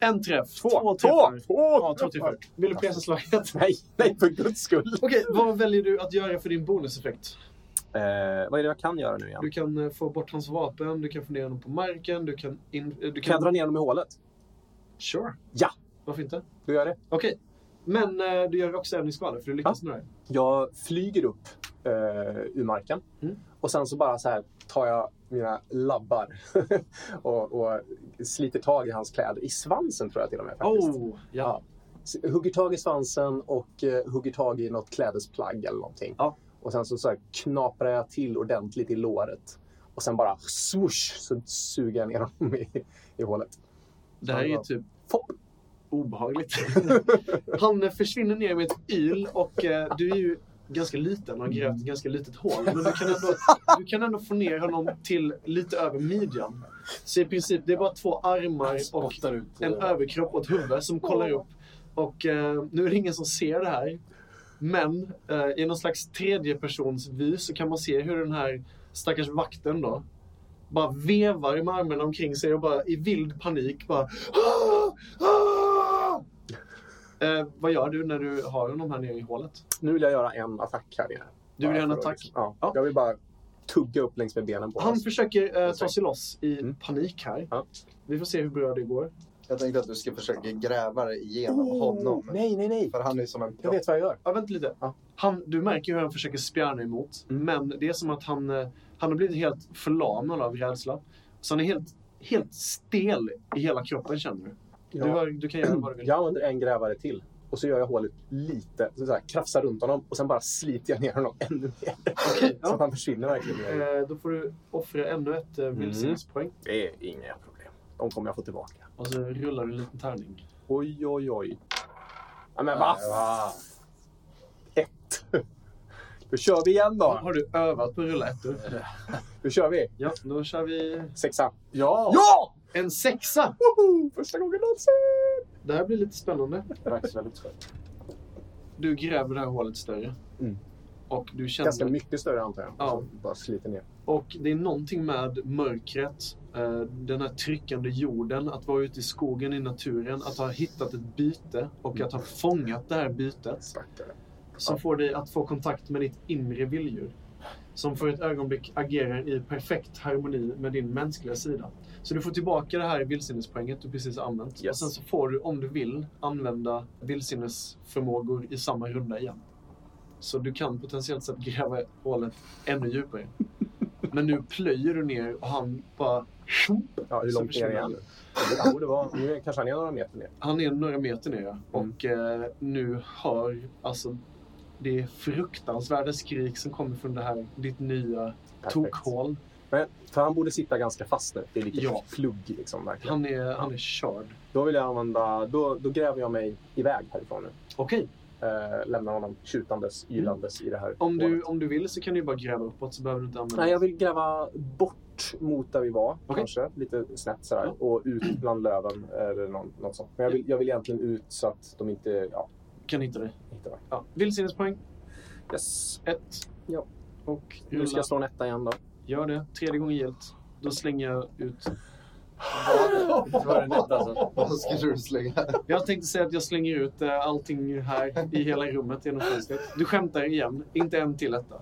En träff. Två! träffar. Ja, Två! två träffar. Vill du pressa slaget? Nej, nej, för guds skull. Okej, vad väljer du att göra för din bonuseffekt? Eh, vad är det jag kan göra nu igen? Du kan eh, få bort hans vapen, du kan få ner honom på marken, du kan... In, eh, du kan, Kan jag dra ner dem i hålet? Sure. Ja. Varför inte? Du gör det. Okej. Men eh, du gör också övningsskvaller, för du lyckas med det här. Jag flyger upp eh, ur marken Mm. och sen så bara så här tar jag mina labbar och, och sliter tag i hans kläder. I svansen tror jag till och med. Faktiskt. Oh, ja. Ja. S- Hugger tag i svansen och eh, hugger tag i något klädesplagg eller någonting. Ja. Och sen så, så här, knaprar jag till ordentligt i låret. Och sen bara swoosh så suger jag ner honom i, i hålet. Det här är ju Ja. typ Fopp! obehagligt. Han eh, försvinner ner med ett yl och eh, du är ju ganska liten och har grävt ett ganska litet hål. Men du kan, ändå, du kan ändå få ner honom till lite över midjan. Så i princip, det är bara två armar och Spottar ut. eh, en överkropp och ett huvud som kollar upp. Och eh, nu är det ingen som ser det här. Men eh, i någon slags tredjepersonsvy så kan man se hur den här stackars vakten då bara vevar med armarna omkring sig och bara i vild panik bara "Ah! Ah!" eh, Vad gör du när du har honom här nere i hålet? Nu vill jag göra en attack här nere. Du vill Bara göra en för att attack. liksom- Ja. Ja. Jag vill bara tugga upp längs med benen på Han honom. försöker eh, ta sig loss i Mm. panik här. Ja. Vi får se hur bra det går. Jag tänkte att du ska försöka gräva dig igenom honom. Nej, nej, nej. För han är som en Jag propp. vet vad jag gör. Ja, vänta lite. Ja. Han, du märker hur han försöker spjärna emot. Mm. Men det är som att han, eh, han har blivit helt förlamad av rädsla. Så han är helt, helt stel i hela kroppen känner du. Ja. Mm. Du, har, du kan göra vad du vill. Jag använder en grävare till och så gör jag hålet lite, så så här, krafsar runt honom och sen bara sliter jag ner honom ännu mer. Okej, Så ja. att han försvinner verkligen. Eh, då får du offra ännu ett Mm. eh, vildsinnespoäng. Det är inga problem. De kommer jag få tillbaka. Och så rullar du en liten tärning. Oj, oj, oj. Ja, men vad Ah, Ett. Då kör vi igen då. Har du övat på att rulla ettor? Då kör vi. Ja, då kör vi Sexa. Ja! Ja! en sexa. Woho! Första gången någonsin. Det här blir lite spännande. Det var faktiskt väldigt skönt. Du gräver det här hålet större. Mm. Och du känner... Ganska mycket större antar jag. Ja. Så Bara sliter ner. Och det är någonting med mörkret, eh, den här tryckande jorden, att vara ute i skogen, i naturen, att ha hittat ett byte och att ha fångat det här bytet Stackare. som får dig att få kontakt med ditt inre vilddjur. Som för ett ögonblick agerar i perfekt harmoni med din mänskliga sida. Så du får tillbaka det här vildsinnespoänget du precis har använt. Yes. Och sen så får du, om du vill, använda vildsinnesförmågor i samma runda igen. Så du kan potentiellt sett gräva hålet ännu djupare. Men nu plöjer du ner och han bara... Ja, hur Så långt ner försvinner är han han. nu? Det borde vara... Nu är- kanske han är några meter ner. Han är några meter ner ja. och eh, nu hör alltså det är fruktansvärda skrik som kommer från det här, ditt nya Perfekt. tokhål. Men, för han borde sitta ganska fast nu. Det är lite Ja. plugg liksom verkligen. Han är, han är körd. Då vill jag använda... Då, då gräver jag mig iväg härifrån nu. Okej, Eh, lämnar honom tjutandes, ylandes i det här Mm. om hålet. du, om du vill så kan du ju bara gräva uppåt så behöver du inte använda Nej, jag vill gräva bort mot där vi var, Okej. kanske. Lite snett sådär. Ja. Och ut bland löven eller någon, något sånt. Men jag vill, jag vill egentligen ut så att de inte ja, Kan hitta dig. hittar mig. Ja. Vildsinnespoäng, Yes. ett. Ja. Och Nu ska rulla. jag slå en etta igen då. Gör det, tredje gången gillt. Då slänger jag ut. Det var det lätt alltså. Vad ska du slänga? Jag tänkte säga att jag slänger ut eh, allting här i hela rummet genom fönstret. Du skämtar igen, inte en till detta.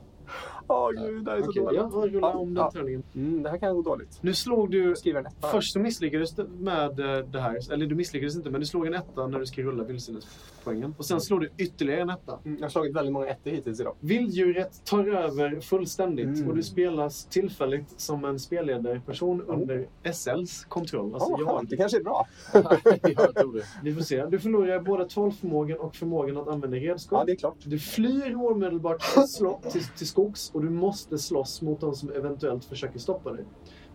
Åh gud, det här är Okej, ja, rulla om den Ja. tärningen. Mm, det här kan gå dåligt. Nu slog du Jag skriver en etta. Först så misslyckades du med eh, det här. Eller du misslyckades inte, men du slog en etta när du ska rulla vildsinnespoängen. Och sen slog du ytterligare en etta. Mm, Jag har slagit väldigt många ettor hittills idag. Vilddjuret tar över fullständigt Mm. och du spelas tillfälligt som en spelledarperson under SLs kontroll. Alltså Åh, jag. Det kanske är bra. Jag tror det. Vi får se. Du förlorar både talförmågan och förmågan att använda Ja, redskap. det är klart. Du flyr omedelbart till, slå- till, till skogs och du måste slåss mot de som eventuellt försöker stoppa dig.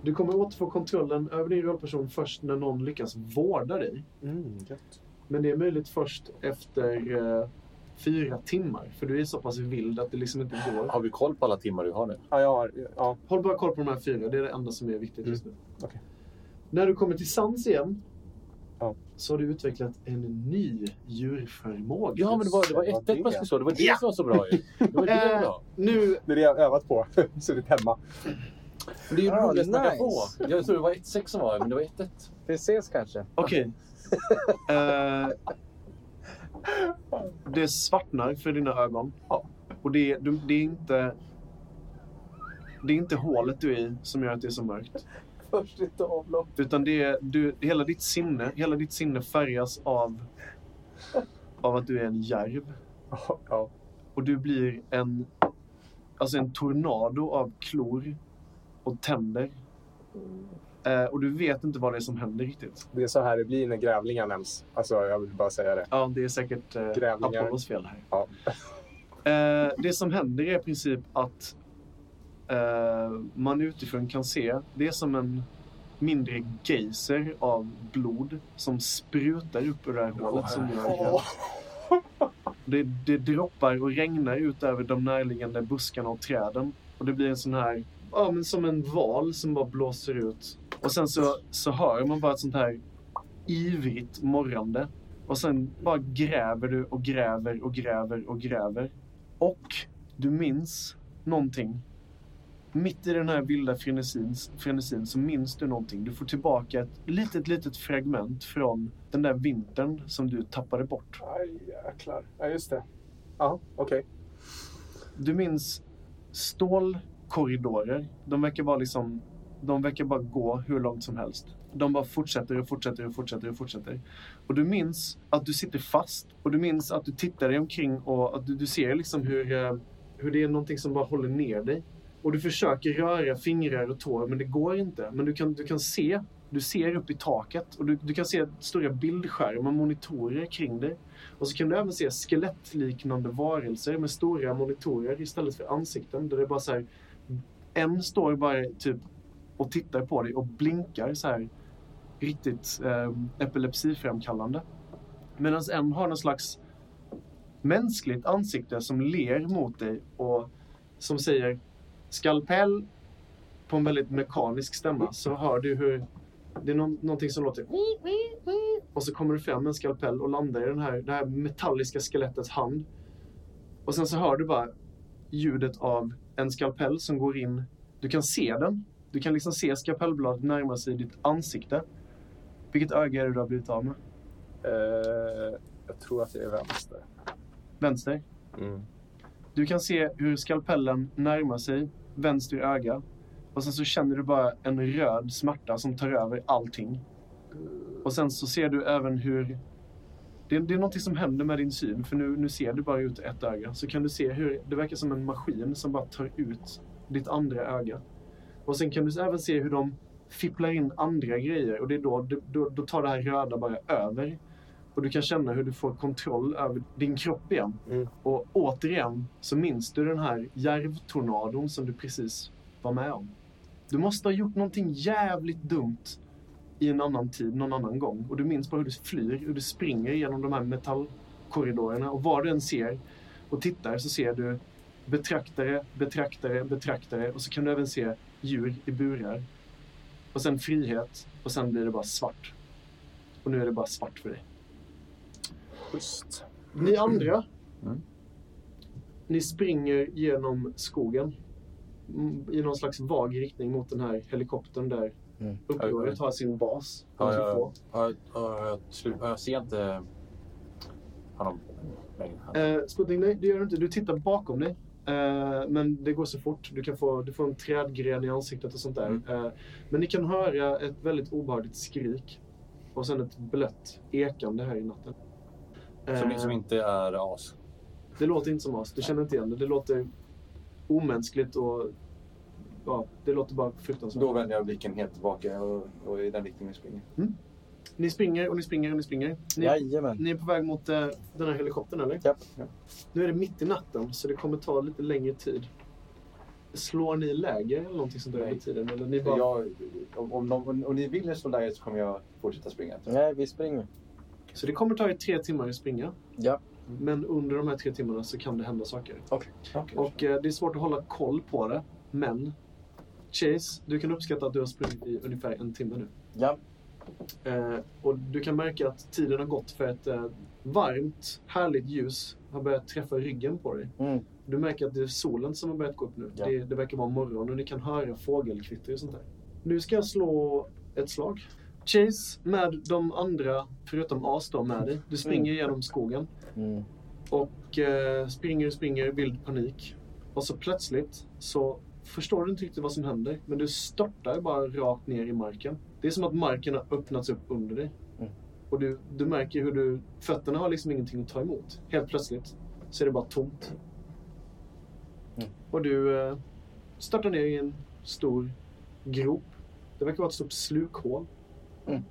Du kommer återfå kontrollen över din rollperson först när någon lyckas vårda dig. Mm, gött. Men det är möjligt först efter eh, fyra timmar. För du är så pass vild att det liksom inte går. Har vi koll på alla timmar du har nu? Ja, jag har... Ja. Håll bara koll på de här fyra. Det är det enda som är viktigt just nu. Mm. Okej. När du kommer till sans igen. Ja. Så har du utvecklat en ny djurförmåga. Ja, men det var, det var ett ett man skulle slå. Det var det som var så bra ju. Det var Eh, det som var bra. Nu, Det är det jag har övat på. Suttit hemma. Men det är ju Ah, roligt att snacka nice. på. Jag tror det var ett sex som var men det var ett ett. Vi ses kanske. okej. Eh, det svartnar för dina ögon. Ja. Och det, är- du, det är inte... Det är inte hålet du är i som gör att det är så mörkt. Först ett avlopp. Utan det är, du, hela, ditt sinne, hela ditt sinne färgas av, av att du är en järv. Ja, ja. Och du blir en, alltså en tornado av klor och tänder. Mm. Eh, och du vet inte vad det är som händer riktigt. Det är så här det blir när grävlingar nämns. Alltså, jag vill bara säga det. Ja, det är säkert eh, Grävlingar. Apollos fel här. Ja. Eh, det som händer är i princip att eh, man utifrån kan se, det är som en mindre geyser av blod som sprutar upp ur det här hålet som du har grävt. Det, det droppar och regnar ut över de närliggande buskarna och träden. Och det blir en sån här, ja men som en val som bara blåser ut. Och sen så, så hör man bara ett sånt här ivrigt morrande. Och sen bara gräver du och gräver och gräver och gräver. Och du minns någonting. Mitt i den här vilda frenesin, frenesin så minns du någonting. Du får tillbaka ett litet, litet fragment från den där vintern som du tappade bort. Aj, jäklar. Ja, just det. Ja, okej. Du minns stålkorridorer. De verkar bara liksom... De verkar bara gå hur långt som helst. De bara fortsätter och fortsätter och fortsätter och fortsätter. Och du minns att du sitter fast. Och du minns att du tittar dig omkring och att du, du ser liksom hur, eh, hur det är någonting som bara håller ner dig. Och du försöker röra fingrar och tår, men det går inte. Men du kan, du kan se, du ser upp i taket och du, du kan se stora bildskärmar, monitorer kring dig. Och så kan du även se skelettliknande varelser med stora monitorer istället för ansikten. Där det är bara så här, en står bara typ och tittar på dig och blinkar så här riktigt eh, epilepsiframkallande. Medan en har någon slags mänskligt ansikte som ler mot dig och som säger skalpell på en väldigt mekanisk stämma så hör du hur det är någon, någonting som låter och så kommer du fram med en skalpell och landar i den här, det här metalliska skelettets hand. Och sen så hör du bara ljudet av en skalpell som går in. Du kan se den. Du kan liksom se skalpellbladet närma sig ditt ansikte. Vilket öga är det du har blivit av med? Eh, jag tror att det är vänster. Vänster? Du kan se hur skalpellen närmar sig vänster öga och sen så känner du bara en röd smärta som tar över allting. Och sen så ser du även hur... Det är, det är någonting som händer med din syn för nu, nu ser du bara ut ett öga. Så kan du se hur det verkar som en maskin som bara tar ut ditt andra öga. Och sen kan du även se hur de fipplar in andra grejer och det är då, då, då tar det här röda bara över. Och du kan känna hur du får kontroll över din kropp igen. Och återigen så minns du den här järvtornadon som du precis var med om. Du måste ha gjort någonting jävligt dumt i en annan tid, någon annan gång. Och du minns bara hur du flyr, hur du springer genom de här metallkorridorerna. Och var du än ser och tittar så ser du betraktare, betraktare, betraktare. Och så kan du även se djur i burar. Och sen frihet. Och sen blir det bara svart. Och nu är det bara svart för dig. Schysst. Ni andra, Mm. ni springer genom skogen mm, i någon slags vag riktning mot den här helikoptern där Mm. upproret har sin bas. Ja, de som ja, får. Har, har, har, jag slut- har jag sett eh, honom? Nej, han- Eh, Sputnik, nej, det gör du inte. Du tittar bakom dig. Eh, men det går så fort. Du, kan få, du får en trädgren i ansiktet och sånt där. Mm. Eh, men ni kan höra ett väldigt obehagligt skrik och sen ett blött ekande här i natten. Som, Eh, som liksom inte är as. Det låter inte som as. Du känner inte igen det. Det låter omänskligt och ja, det låter bara fruktansvärt. Då vänder jag blicken helt tillbaka och, och i den riktningen springer. Ni springer och ni springer och ni springer. Ni, Jajamän. ni är på väg mot eh, den här helikoptern eller? Japp. Nu är det mitt i natten så det kommer ta lite längre tid. Slår ni läger eller någonting sånt där Nej. under tiden? Eller ni bara... Jag, om, om, någon, om ni vill en sån där så kommer jag fortsätta springa. Nej, vi springer. Så det kommer ta er tre timmar att springa. Ja. Men under de här tre timmarna så kan det hända saker. Okay. Och eh, det är svårt att hålla koll på det. Men Chase, du kan uppskatta att du har sprungit i ungefär en timme nu. Ja. Eh, och du kan märka att tiden har gått för ett eh, varmt, härligt ljus har börjat träffa ryggen på dig. Mm. Du märker att det är solen som har börjat gå upp nu. Ja. Det, det verkar vara morgon och ni kan höra fågelkvitter och sånt där. Nu ska jag slå ett slag. Chase med de andra, förutom As då, med dig. Du springer genom skogen Mm. och eh, springer och springer i vild panik. Och så plötsligt så förstår du inte riktigt vad som händer, men du störtar bara rakt ner i marken. Det är som att marken har öppnats upp under dig. Mm. Och du, du märker hur du, fötterna har liksom ingenting att ta emot. Helt plötsligt så är det bara tomt. Mm. Och du eh, störtar ner i en stor grop. Det verkar vara ett stort slukhål. Mm.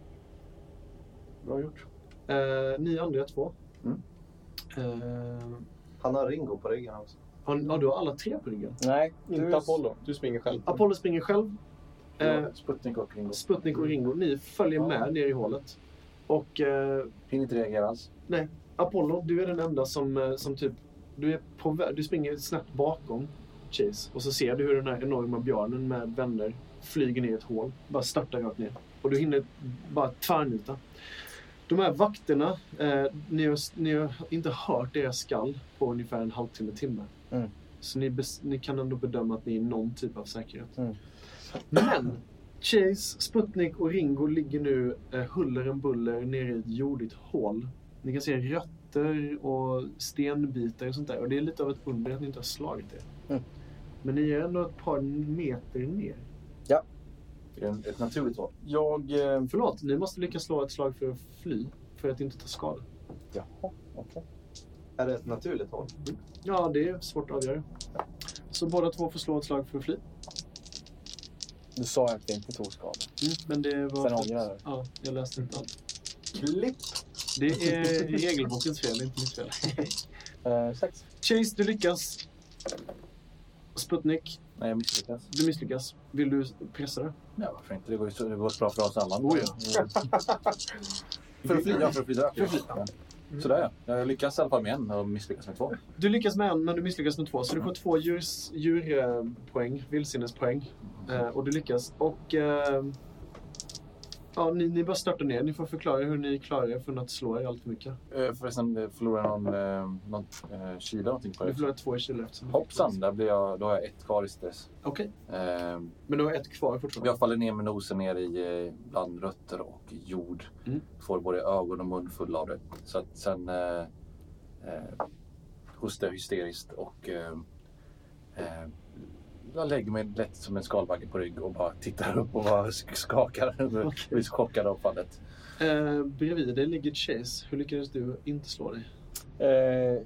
Bra gjort. Eh, ni andra två. Mm. Eh, Han har Ringo på ryggen också. har, ni- ja, du har alla tre på ryggen. Nej, Inte Apollo. Du springer själv. Apollo springer själv. Eh, Sputnik och Ringo. Sputnik och Ringo, ni följer Ja. med ner i hålet. Och eh, Hinner inte reagera alls. Apollo, du är den enda som, eh, som typ... Du, är på, vä- du springer snabbt bakom Chase och så ser du hur den här enorma björnen med vänner flyger ner i ett hål. Bara störtar rakt ner. Och du hinner bara tvärnita. De här vakterna, eh, ni, har, ni har inte hört deras skall på ungefär en halvtimme, timme. Mm. Så ni, bes, ni kan ändå bedöma att ni är i någon typ av säkerhet. Mm. Men Chase, Sputnik och Ringo ligger nu eh, huller om buller nere i ett jordigt hål. Ni kan se rötter och stenbitar och sånt där. Och det är lite av ett under att ni inte har slagit det. Mm. Men ni är ändå ett par meter ner. Det är en- ett naturligt val. Jag... Eh, Förlåt, ni måste lyckas slå ett slag för att fly. För att inte ta skada. jaha, okej. Är det ett naturligt hål? Ja, det är svårt att avgöra. Så båda två får slå ett slag för att fly. Du sa ju att det inte tog skada. Men det var... Mm. Sen ångrar jag det. Ja, jag läste inte allt. Klipp! Det är regelbokens fel, inte mitt fel. Eh, sex. Chase, du lyckas. Sputnik, Nej, jag misslyckas. du misslyckas. Vill du pressa det? Nej, varför inte? Det går ju så, det går så bra för oss alla. Oh Mm. för att fly? Ja, för att fly drack jag. Ja. Sådär ja. Jag lyckas i alla fall med en och misslyckas med två. Du lyckas med en, men du misslyckas med två. Så du får två djurs, djurpoäng, vildsinnespoäng. Mm. Eh, och du lyckas. Och... Eh, ja, ni, ni bara störtar ner. Ni får förklara hur ni klarar er från att slå er allt för mycket. Eh, Förresten, eh, förlorar jag någon, eh, någon eh, kyla eller någonting på Du det? förlorar två i kilo eftersom... Hoppsan, där blir jag, då har jag ett kvar i stress. Okej. Eh, Men du har ett kvar fortfarande. jag faller ner med nosen ner i eh, bland rötter och jord. Mm. Får både ögon och mun fulla av det. Så att sen eh, eh, hostar jag hysteriskt och eh, eh, jag lägger mig lätt som en skalbagge på rygg och bara tittar upp och bara sk- skakar. Jag blir så chockad av fallet. Eh, bredvid dig ligger Chase. Hur lyckades du inte slå dig? Eh,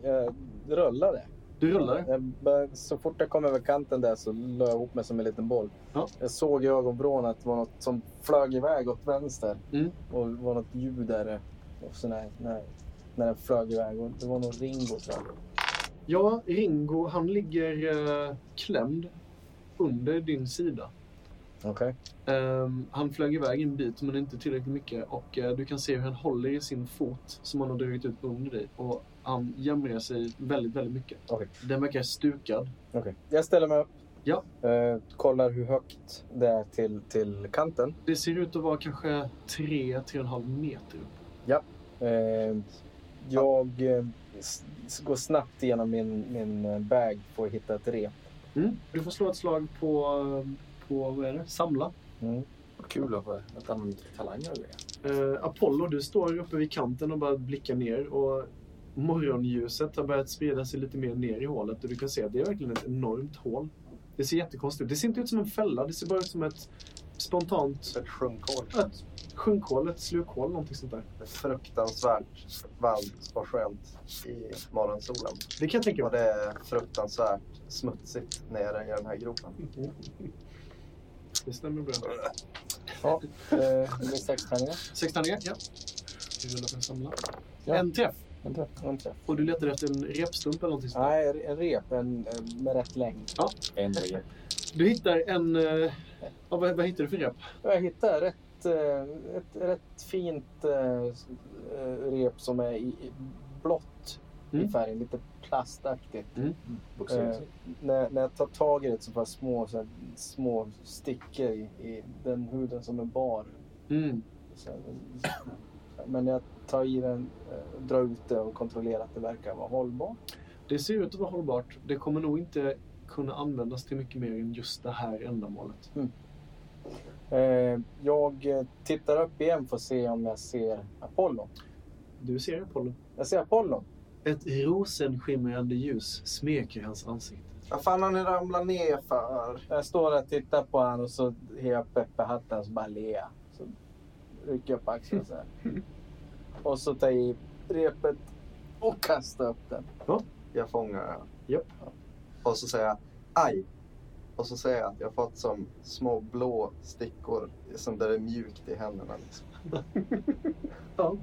jag rullade. Du rullar. Jag bör- Eh, så fort jag kom över kanten där så la jag ihop mig som en liten boll. Ja. Jag såg i ögonvrån att det var något som flög iväg åt vänster. Mm. Och det var något ljud där. Och så när, när, när den flög iväg. Och det var nog Ringo tror jag. Ja, Ringo, han ligger eh, klämd under din sida. Okej. Ehm, han flög iväg en bit, men inte tillräckligt mycket. Och eh, du kan se hur han håller i sin fot som han har dragit ut under dig. Och han jämrar sig väldigt, väldigt mycket. Okej. Den verkar stukad. Okej. Jag ställer mig upp. Ja. Eh, kollar hur högt det är till, till kanten. Det ser ut att vara kanske 3-3,5 meter upp. Eh, jag eh, s- s- går snabbt igenom min, min eh, bag för att hitta ett rep. Du får slå ett slag på, på vad är det? samla. Mm. Vad Kul att få- att använda talanger och grejer. Eh, Apollo, du står uppe vid kanten och bara blickar ner och morgonljuset har börjat sprida sig lite mer ner i hålet och du kan se att det är verkligen ett enormt hål. Det ser jättekonstigt ut. Det ser inte ut som en fälla, det ser bara ut som ett spontant Ett sjunkhål. ett sjunkhål, ett slukhål, någonting sånt där. Fruktansvärt varmt och skönt i morgonsolen. Det kan jag tänka Och mig. det är fruktansvärt smutsigt nere i den här gropen. Det stämmer bra. Ja, eh, det är sex tärningar. Sex tärningar, ja. Vi rullar för att samla. Ja. En träff. En träff. En träff. Och du letar efter en repstump eller någonting sånt där. Nej, en rep en, eh, med rätt längd. En regel. Du hittar en... eh, Ja, vad, vad hittar du för rep? Jag hittade rätt, eh, ett rätt fint eh, s- eh, rep som är i, i blått Mm. i färgen. Lite plastaktigt. Boxeras. Eh, när, när jag tar tag i det så får jag små, så här, små stickor i, i den huden som är bar. Mm. Så här, men jag tar i den, eh, drar ut det och kontrollerar att det verkar vara hållbart. Det ser ut att vara hållbart. Det kommer nog inte kunna användas till mycket mer än just det här ändamålet. Eh, jag eh, tittar upp igen för att se om jag ser Apollo. Du ser Apollo. Jag ser Apollo. Ett rosenskimrande ljus smeker hans ansikte. Vad fan har ni ramlat ner för? Jag står där och tittar på honom och så hejar Peppe hatten och så bara ler jag. Så rycker jag på axeln så här. Och så tar jag i repet och kastar upp den. Jag fångar den. Japp. Och så säger jag aj. Och så säger jag att jag fått som små blå stickor som där det är mjukt i händerna. Liksom. Ja.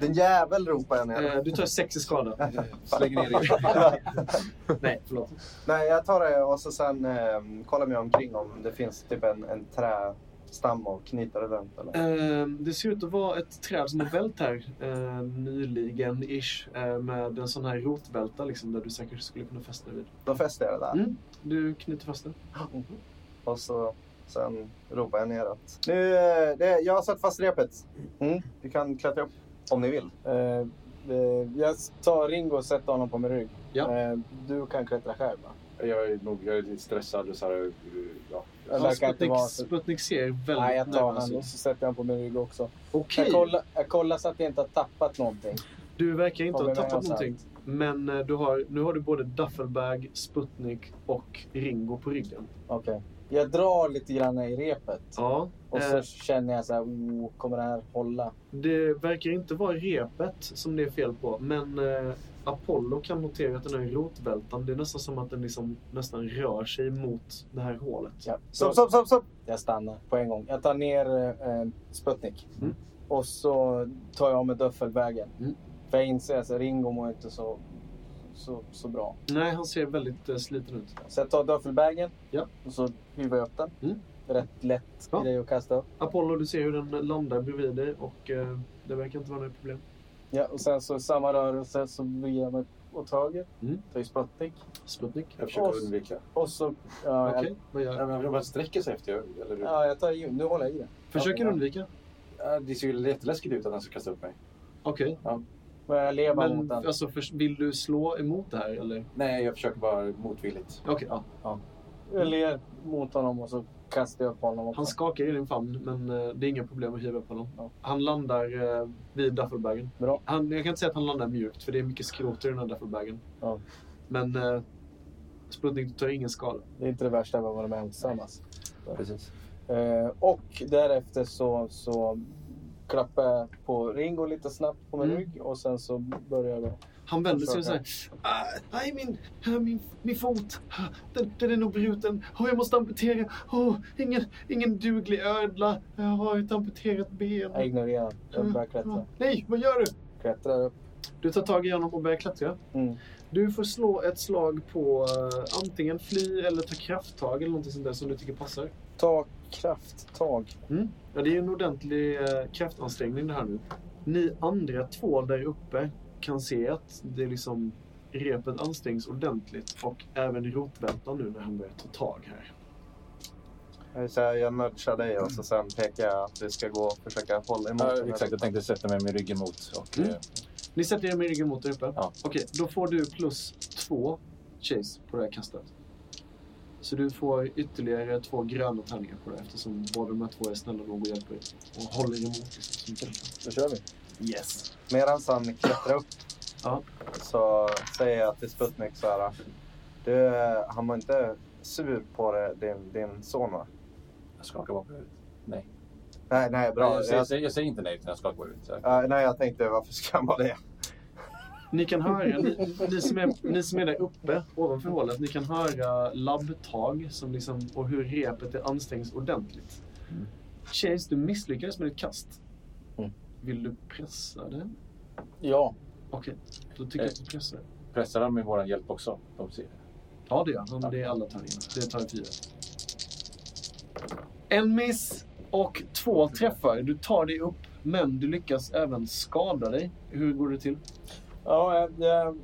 Den jävel ropar jag ner. Eh, du tar sex i skada. Slänger ner regeln. Nej, förlåt. Nej, jag tar det och så sen eh, kollar mig omkring om det finns typ en, en trästam och knyter det runt. Eller? Eh, det ser ut att vara ett träd som har vält här eh, nyligen ish. Eh, med en sån här rotvälta liksom, där du säkert skulle kunna fästa vid. Då fäster jag det där. Mm. Du knyter fast den. Och så sen ropar jag ner att nu, eh, det, jag har satt fast repet. Mm. Du kan klättra upp om ni vill. Eh, eh, jag tar Ringo och sätter honom på min rygg. Ja. Eh, du kan klättra själv va? Jag är nog jag är lite stressad och så här, ja. Jag Ja, verkar inte Sputnik, vara så... Sputnik ser väldigt Nej, jag tar nervös honom och ut. så sätter jag honom på min rygg också. Okej. Jag, kollar, jag kollar så att jag inte har tappat någonting. Du verkar inte ha Kommer tappat med oss någonting. Men eh, du har, nu har du både Duffelbag, Sputnik och Ringo på ryggen. Okej. Jag drar lite grann i repet. Ja. Och eh, så känner jag så här, oh, kommer det här hålla? Det verkar inte vara repet som det är fel på, men eh, Apollo kan notera att den här rotvältan, det är nästan som att den liksom nästan rör sig mot det här hålet. Ja. Stopp, stopp, stopp, stopp! Jag stannar på en gång. Jag tar ner eh, Sputnik. Mm. Och så tar jag av mig döffelbägen. Mm. För jag inser att Ringo mår inte så, så, så bra. Nej, han ser väldigt eh, sliten ut. Så jag tar döffelbägen Ja. och så huvar jag upp den. Mm. Rätt lätt Ja. grej att kasta upp. Apollo, du ser hur den landar bredvid dig och eh, det verkar inte vara några problem. Ja, och sen så i samma rörelse så vrider jag mig åt höger. Mm. Tar ju Sputnik. Sputnik? Jag försöker Oss. undvika. Och så... Ja, Okej, jag, vad gör Ja, du? men jag bara sträcker sig efter. Eller hur? ja, jag tar ju... Nu håller jag i den. Försöker ja. undvika? Ja, Det ser ju jätteläskigt ut att han ska kasta upp mig. Okej. Men jag lever mot Men den. alltså, förs- vill du slå emot det här eller? Nej, jag försöker bara motvilligt. Okej, ja. Jag ler mot honom och så kastar jag upp honom. Också. Han skakar i din famn, men eh, det är inga problem att hiva på honom. Ja. Han landar eh, vid duffelbagen. Bra. Han, jag kan inte säga att han landar mjukt, för det är mycket skrot i den här duffelbagen. Ja. Men eh, Sputnik du tar ingen skada. Det är inte det värsta jag har varit med om tillsammans. Precis. Eh, och därefter så, så klappar jag på Ringo lite snabbt på min Mm. rygg och sen så börjar jag. då. Han vänder sig och Försöker. säger "Ah, Nej, min, ah, min, min fot! Ah, Den, den är nog bruten. Åh, jag måste amputera. Åh, ingen, ingen duglig ödla. Jag har ett amputerat ben. Jag ignorerar. Jag börjar Ah, klättra. Nej, vad gör du? Klättrar upp. Du tar tag i honom och börjar klättra. Mm. Du får slå ett slag på eh, antingen fly eller ta krafttag eller någonting sånt där som du tycker passar. Ta krafttag. Ja, det är ju en ordentlig eh, kraftansträngning det här nu. Ni andra två där uppe kan se att det är liksom repet ansträngs ordentligt och även rotvältan nu när han börjar ta tag här. Jag vill säga, Jag nudgar dig och så sen pekar jag att vi ska gå och försöka hålla emot. Ja, den här. exakt, jag tänkte sätta mig med ryggen mot. Och, Mm. eh, Ni sätter er med ryggen mot där uppe? Ja. Okej, då får du plus två chase på det här kastet. Så du får ytterligare två gröna tärningar på det eftersom båda de här två är snälla nog och hjälper er och håller emot. Liksom, så mycket. Då kör vi. Yes. Medan han klättrar upp Ja. så säger jag till Sputnik så här. Du, eh, han var inte sur på det, din, din son va? Jag skakar bara på huvudet. Nej, nej, Bra, bra. jag, säger, jag, jag, säger, jag säger inte nej, utan jag skakar på huvudet. Så här. ja, nej, jag tänkte varför ska han vara det? Ni kan höra, ni, ni, som är, ni som är där uppe ovanför hålet, ni kan höra labbtag som liksom, och hur repet är ansträngs ordentligt. Mm. Chase, du misslyckades med ditt kast. Mm. Vill du pressa det? Ja. Okej, då tycker jag att du pressar det. Pressar han med vår hjälp också? De ser. Ja, det gör han. Det är alla tärningar. Det tar fyra. En miss och två träffar. Du tar dig upp, men du lyckas även skada dig. Hur går det till? ja jag, jag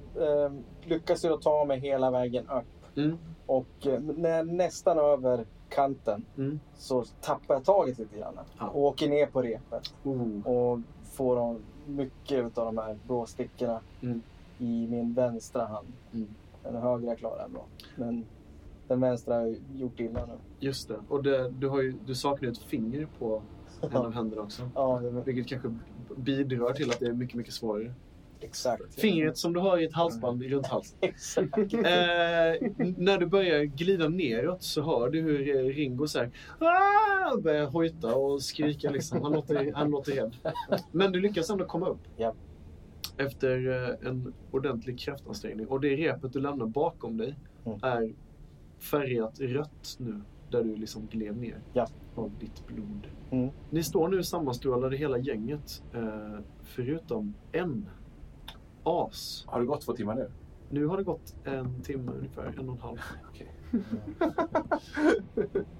eh, lyckas ju att ta mig hela vägen upp. Mm. Och eh, när jag nästan över kanten Mm. så tappar jag taget lite grann. Ja. Och åker ner på repet. Oh. och får de- mycket av de här blåstickorna Mm. i min vänstra hand. Mm. Den högra klarar jag bra, men den vänstra har jag gjort illa nu. Just det. Och det, du, har ju, du saknar ju ett finger på en av händerna också. Ja, det var Vilket kanske bidrar till att det är mycket, mycket svårare. exakt. Fingret som du har i ett halsband runt halsen. Exakt. Eh, när du börjar glida neråt så hör du hur eh, Ringo så här, "Ah!" börjar hojta och skrika. Liksom. Han, låter, han låter rädd. Men du lyckas ändå komma upp. Ja. Efter eh, en ordentlig kraftansträngning. Och det repet du lämnar bakom dig Mm. är färgat rött nu. Där du liksom gled ner Ja. av ditt blod. Mm. Ni står nu sammanstrålade hela gänget. Eh, förutom en as. Har det gått två timmar nu? Nu har det gått en timme ungefär, en och en halv.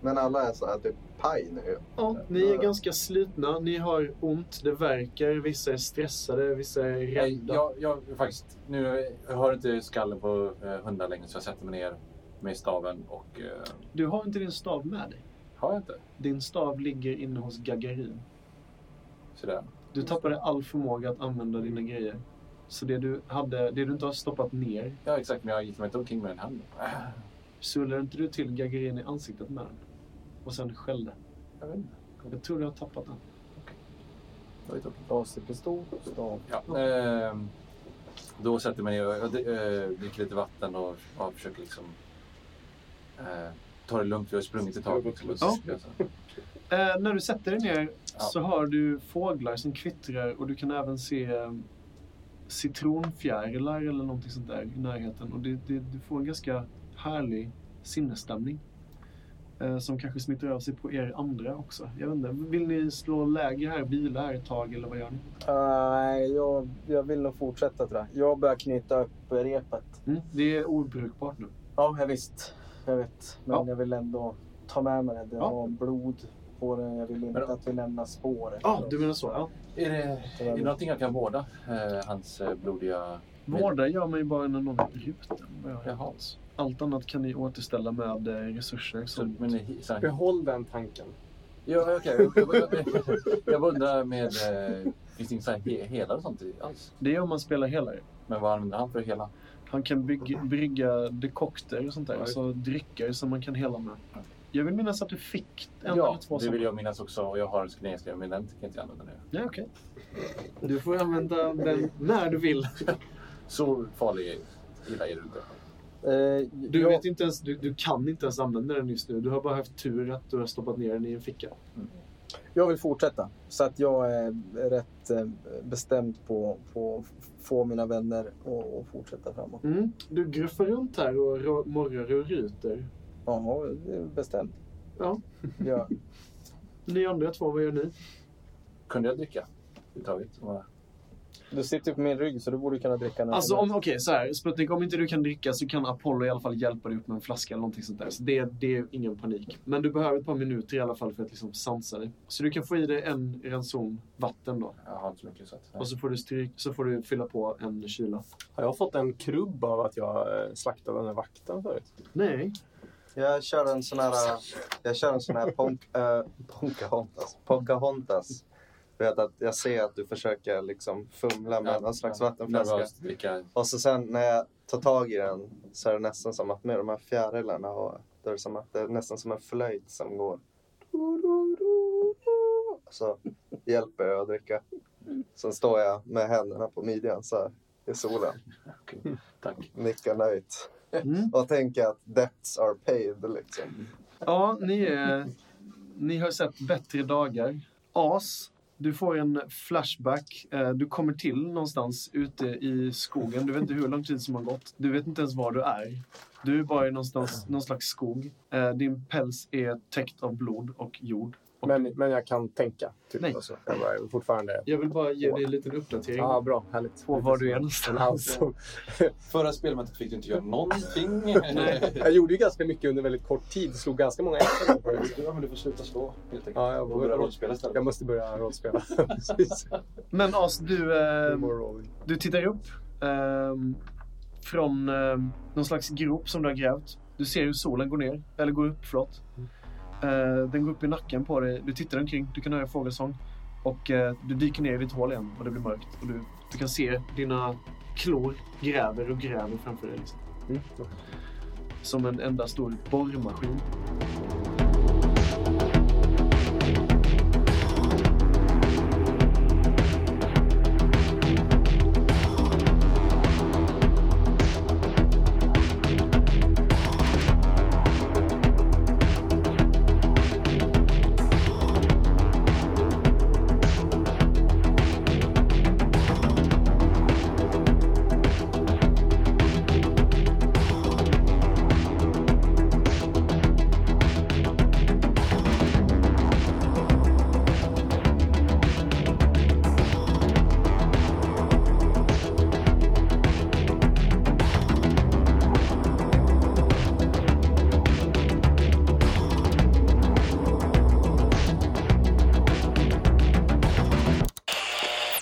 Men alla är så här typ paj nu. Ja, ni är ganska slitna, ni har ont, det verkar, vissa är stressade, vissa är Nej, rädda. jag, Eh, jag faktiskt. Nu jag hör inte skallen på eh, hundar längre så jag sätter mig ner med staven och... Eh, Du har inte din stav med dig. har jag inte? Din stav ligger inne hos Gagarin. Sådär. Du tappade all förmåga att använda dina grejer. Så det du, hade, det du inte har stoppat ner, Ja, exakt. Men jag gick mig inte omkring med den handen. Ah, sullade inte du till Gagarin i ansiktet med den? Och sen skällde. Jag vet inte. Jag tror du har tappat den. Det var ju tokigt. Laserpistol, stav. Ja, ehm, då sätter jag mig ner och jag, eh, dricker lite vatten och, och försöker liksom eh, ta det lugnt, vi har sprungit ett tag. Liksom. Ja. Alltså. Eh, när du sätter dig ner Ja. så hör du fåglar som kvittrar och du kan även se eh, citronfjärilar eller någonting sånt där i närheten. Och det, det, du får en ganska härlig sinnesstämning. Eh, som kanske smittar av sig på er andra också. Jag vet inte, vill ni slå läger här, vila här ett tag eller vad gör ni? Nej, jag, jag vill nog fortsätta tror jag. Jag börjar knyta upp repet. Mm, det är obrukbart nu. Ja, jag visst. Jag vet. Men Ja. jag vill ändå ta med mig det. Det Ja. var blod på den. Jag vill inte Men- att vi lämnar spår. Ja, du menar så? Ja. Är, det, är det någonting jag kan vårda? Eh, hans eh, blodiga... Vårda gör man ju bara när någon är bruten. vad jag har. Jaha. Allt annat kan ni återställa med eh, resurser. Så, Som... men, i- så, här- Behåll den tanken. ja, okej. Jag, jag, jag, jag undrar med... Eh, finns det inget så här he, helare och sånt i- alls? Det är om man spelar helare. Men vad använder han för att hela? Han kan bygg, brygga dekokter och sånt där. Alltså drycker som man kan hela med. Jag vill minnas att du fick en eller ja, två det vill sådana. jag minnas också. Och jag har en skrinläsning, men den tänker jag inte använda nu. Ja, okej. Du får använda den när du vill. Så farlig illa är du inte. Eh, Du, jag, vet inte ens, du, du kan inte ens använda den just nu. Du har bara haft tur att du har stoppat ner den i en ficka. jag vill fortsätta. Så att jag är rätt eh, bestämd på på att få mina vänner och, och fortsätta framåt. Mm. Du gruffar runt här och ro- morrar och ryter. Jaha, det är bestämt. Ja. Ja. Ni andra två, vad gör ni? Kunde jag dricka? Överhuvudtaget? Och- Du sitter ju på min rygg så du borde kunna dricka när Alltså som om, helst. okej så här. Sputnik, om inte du kan dricka så kan Apollo i alla fall hjälpa dig upp med en flaska eller någonting sånt där. Så det, det är ingen panik. Men du behöver ett par minuter i alla fall för att liksom sansa dig. Så du kan få i dig en ranson vatten då. Jag har inte så mycket så att... Och så får du, stryk, så får du fylla på en kyla. Har jag fått en krubb av att jag eh, slaktade den här vakten förut? Nej. Jag kör en sån här... Jag kör en sån här pon- eh, Pocahontas. Pocahontas. Du vet att jag ser att du försöker liksom fumla med någon slags vattenflaska. Nervöst dricka. Och så sen när jag tar tag i den så är det nästan som att med de här fjärilarna har, då är det, som att det är nästan som en flöjt som går. Så hjälper jag att dricka. Sen står jag med händerna på midjan så här i solen. Okej, Tack. Nickar nöjt. Mm. Och tänker att debts are paid liksom. Ja, ni, är, ni har sett bättre dagar. As, du får en flashback. Eh, Du kommer till någonstans ute i skogen. Du vet inte hur lång tid som har gått. Du vet inte ens var du är. Du är bara i någonstans, någon slags skog. Eh, Din päls är täckt av blod och jord. Och Men, men jag kan tänka. Typ, Nej. Alltså. Jag bara, jag är fortfarande... jag vill bara ge dig en liten uppdatering Ja, bra. Härligt. på var du är någonstans. Alltså, Förra spelmötet fick du inte göra någonting. jag gjorde ju ganska mycket under väldigt kort tid. Slog ganska många extra förut. Ja, men du får sluta slå helt enkelt. Ja, jag Och börja borde- rollspela istället. Jag måste börja rollspela. Precis. Men As, du... No eh, more rolling. Du tittar upp ehm, från ehm, någon slags grop som du har grävt. Du ser hur solen går ner, eller går upp, förlåt. Eh, den går upp i nacken på dig. Du tittar omkring, du kan höra fågelsång. Och eh, du dyker ner i ditt hål igen och det blir mörkt. Och du, du kan se dina klor gräver och gräver framför dig. Liksom. Mm. Som en enda stor borrmaskin.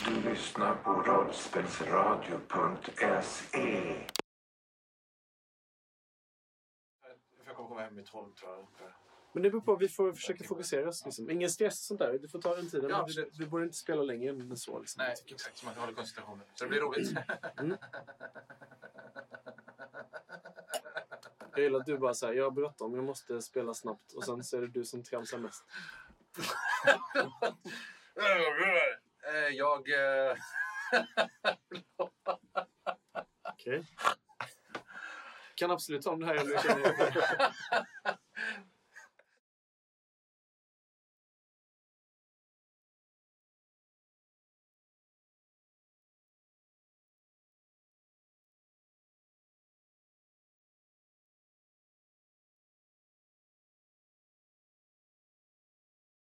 Du lyssnar på rollspelsradio.se. Jag kommer komma hem vid tolv tror jag. Men det beror på, vi får försöka fokusera oss. Liksom. Ingen stress och sånt där. Du får ta den tiden. Ja, Men absolut. du, du borde inte spela längre än så. Liksom. Nej, exakt. Så man håller koncentrationen. Så det blir roligt. Jag gillar att du bara säger jag har bråttom, jag måste spela snabbt. Och sen så är det du som tramsar mest. Eh, jag... eh, Okej. Kan absolut ta om det här om du känner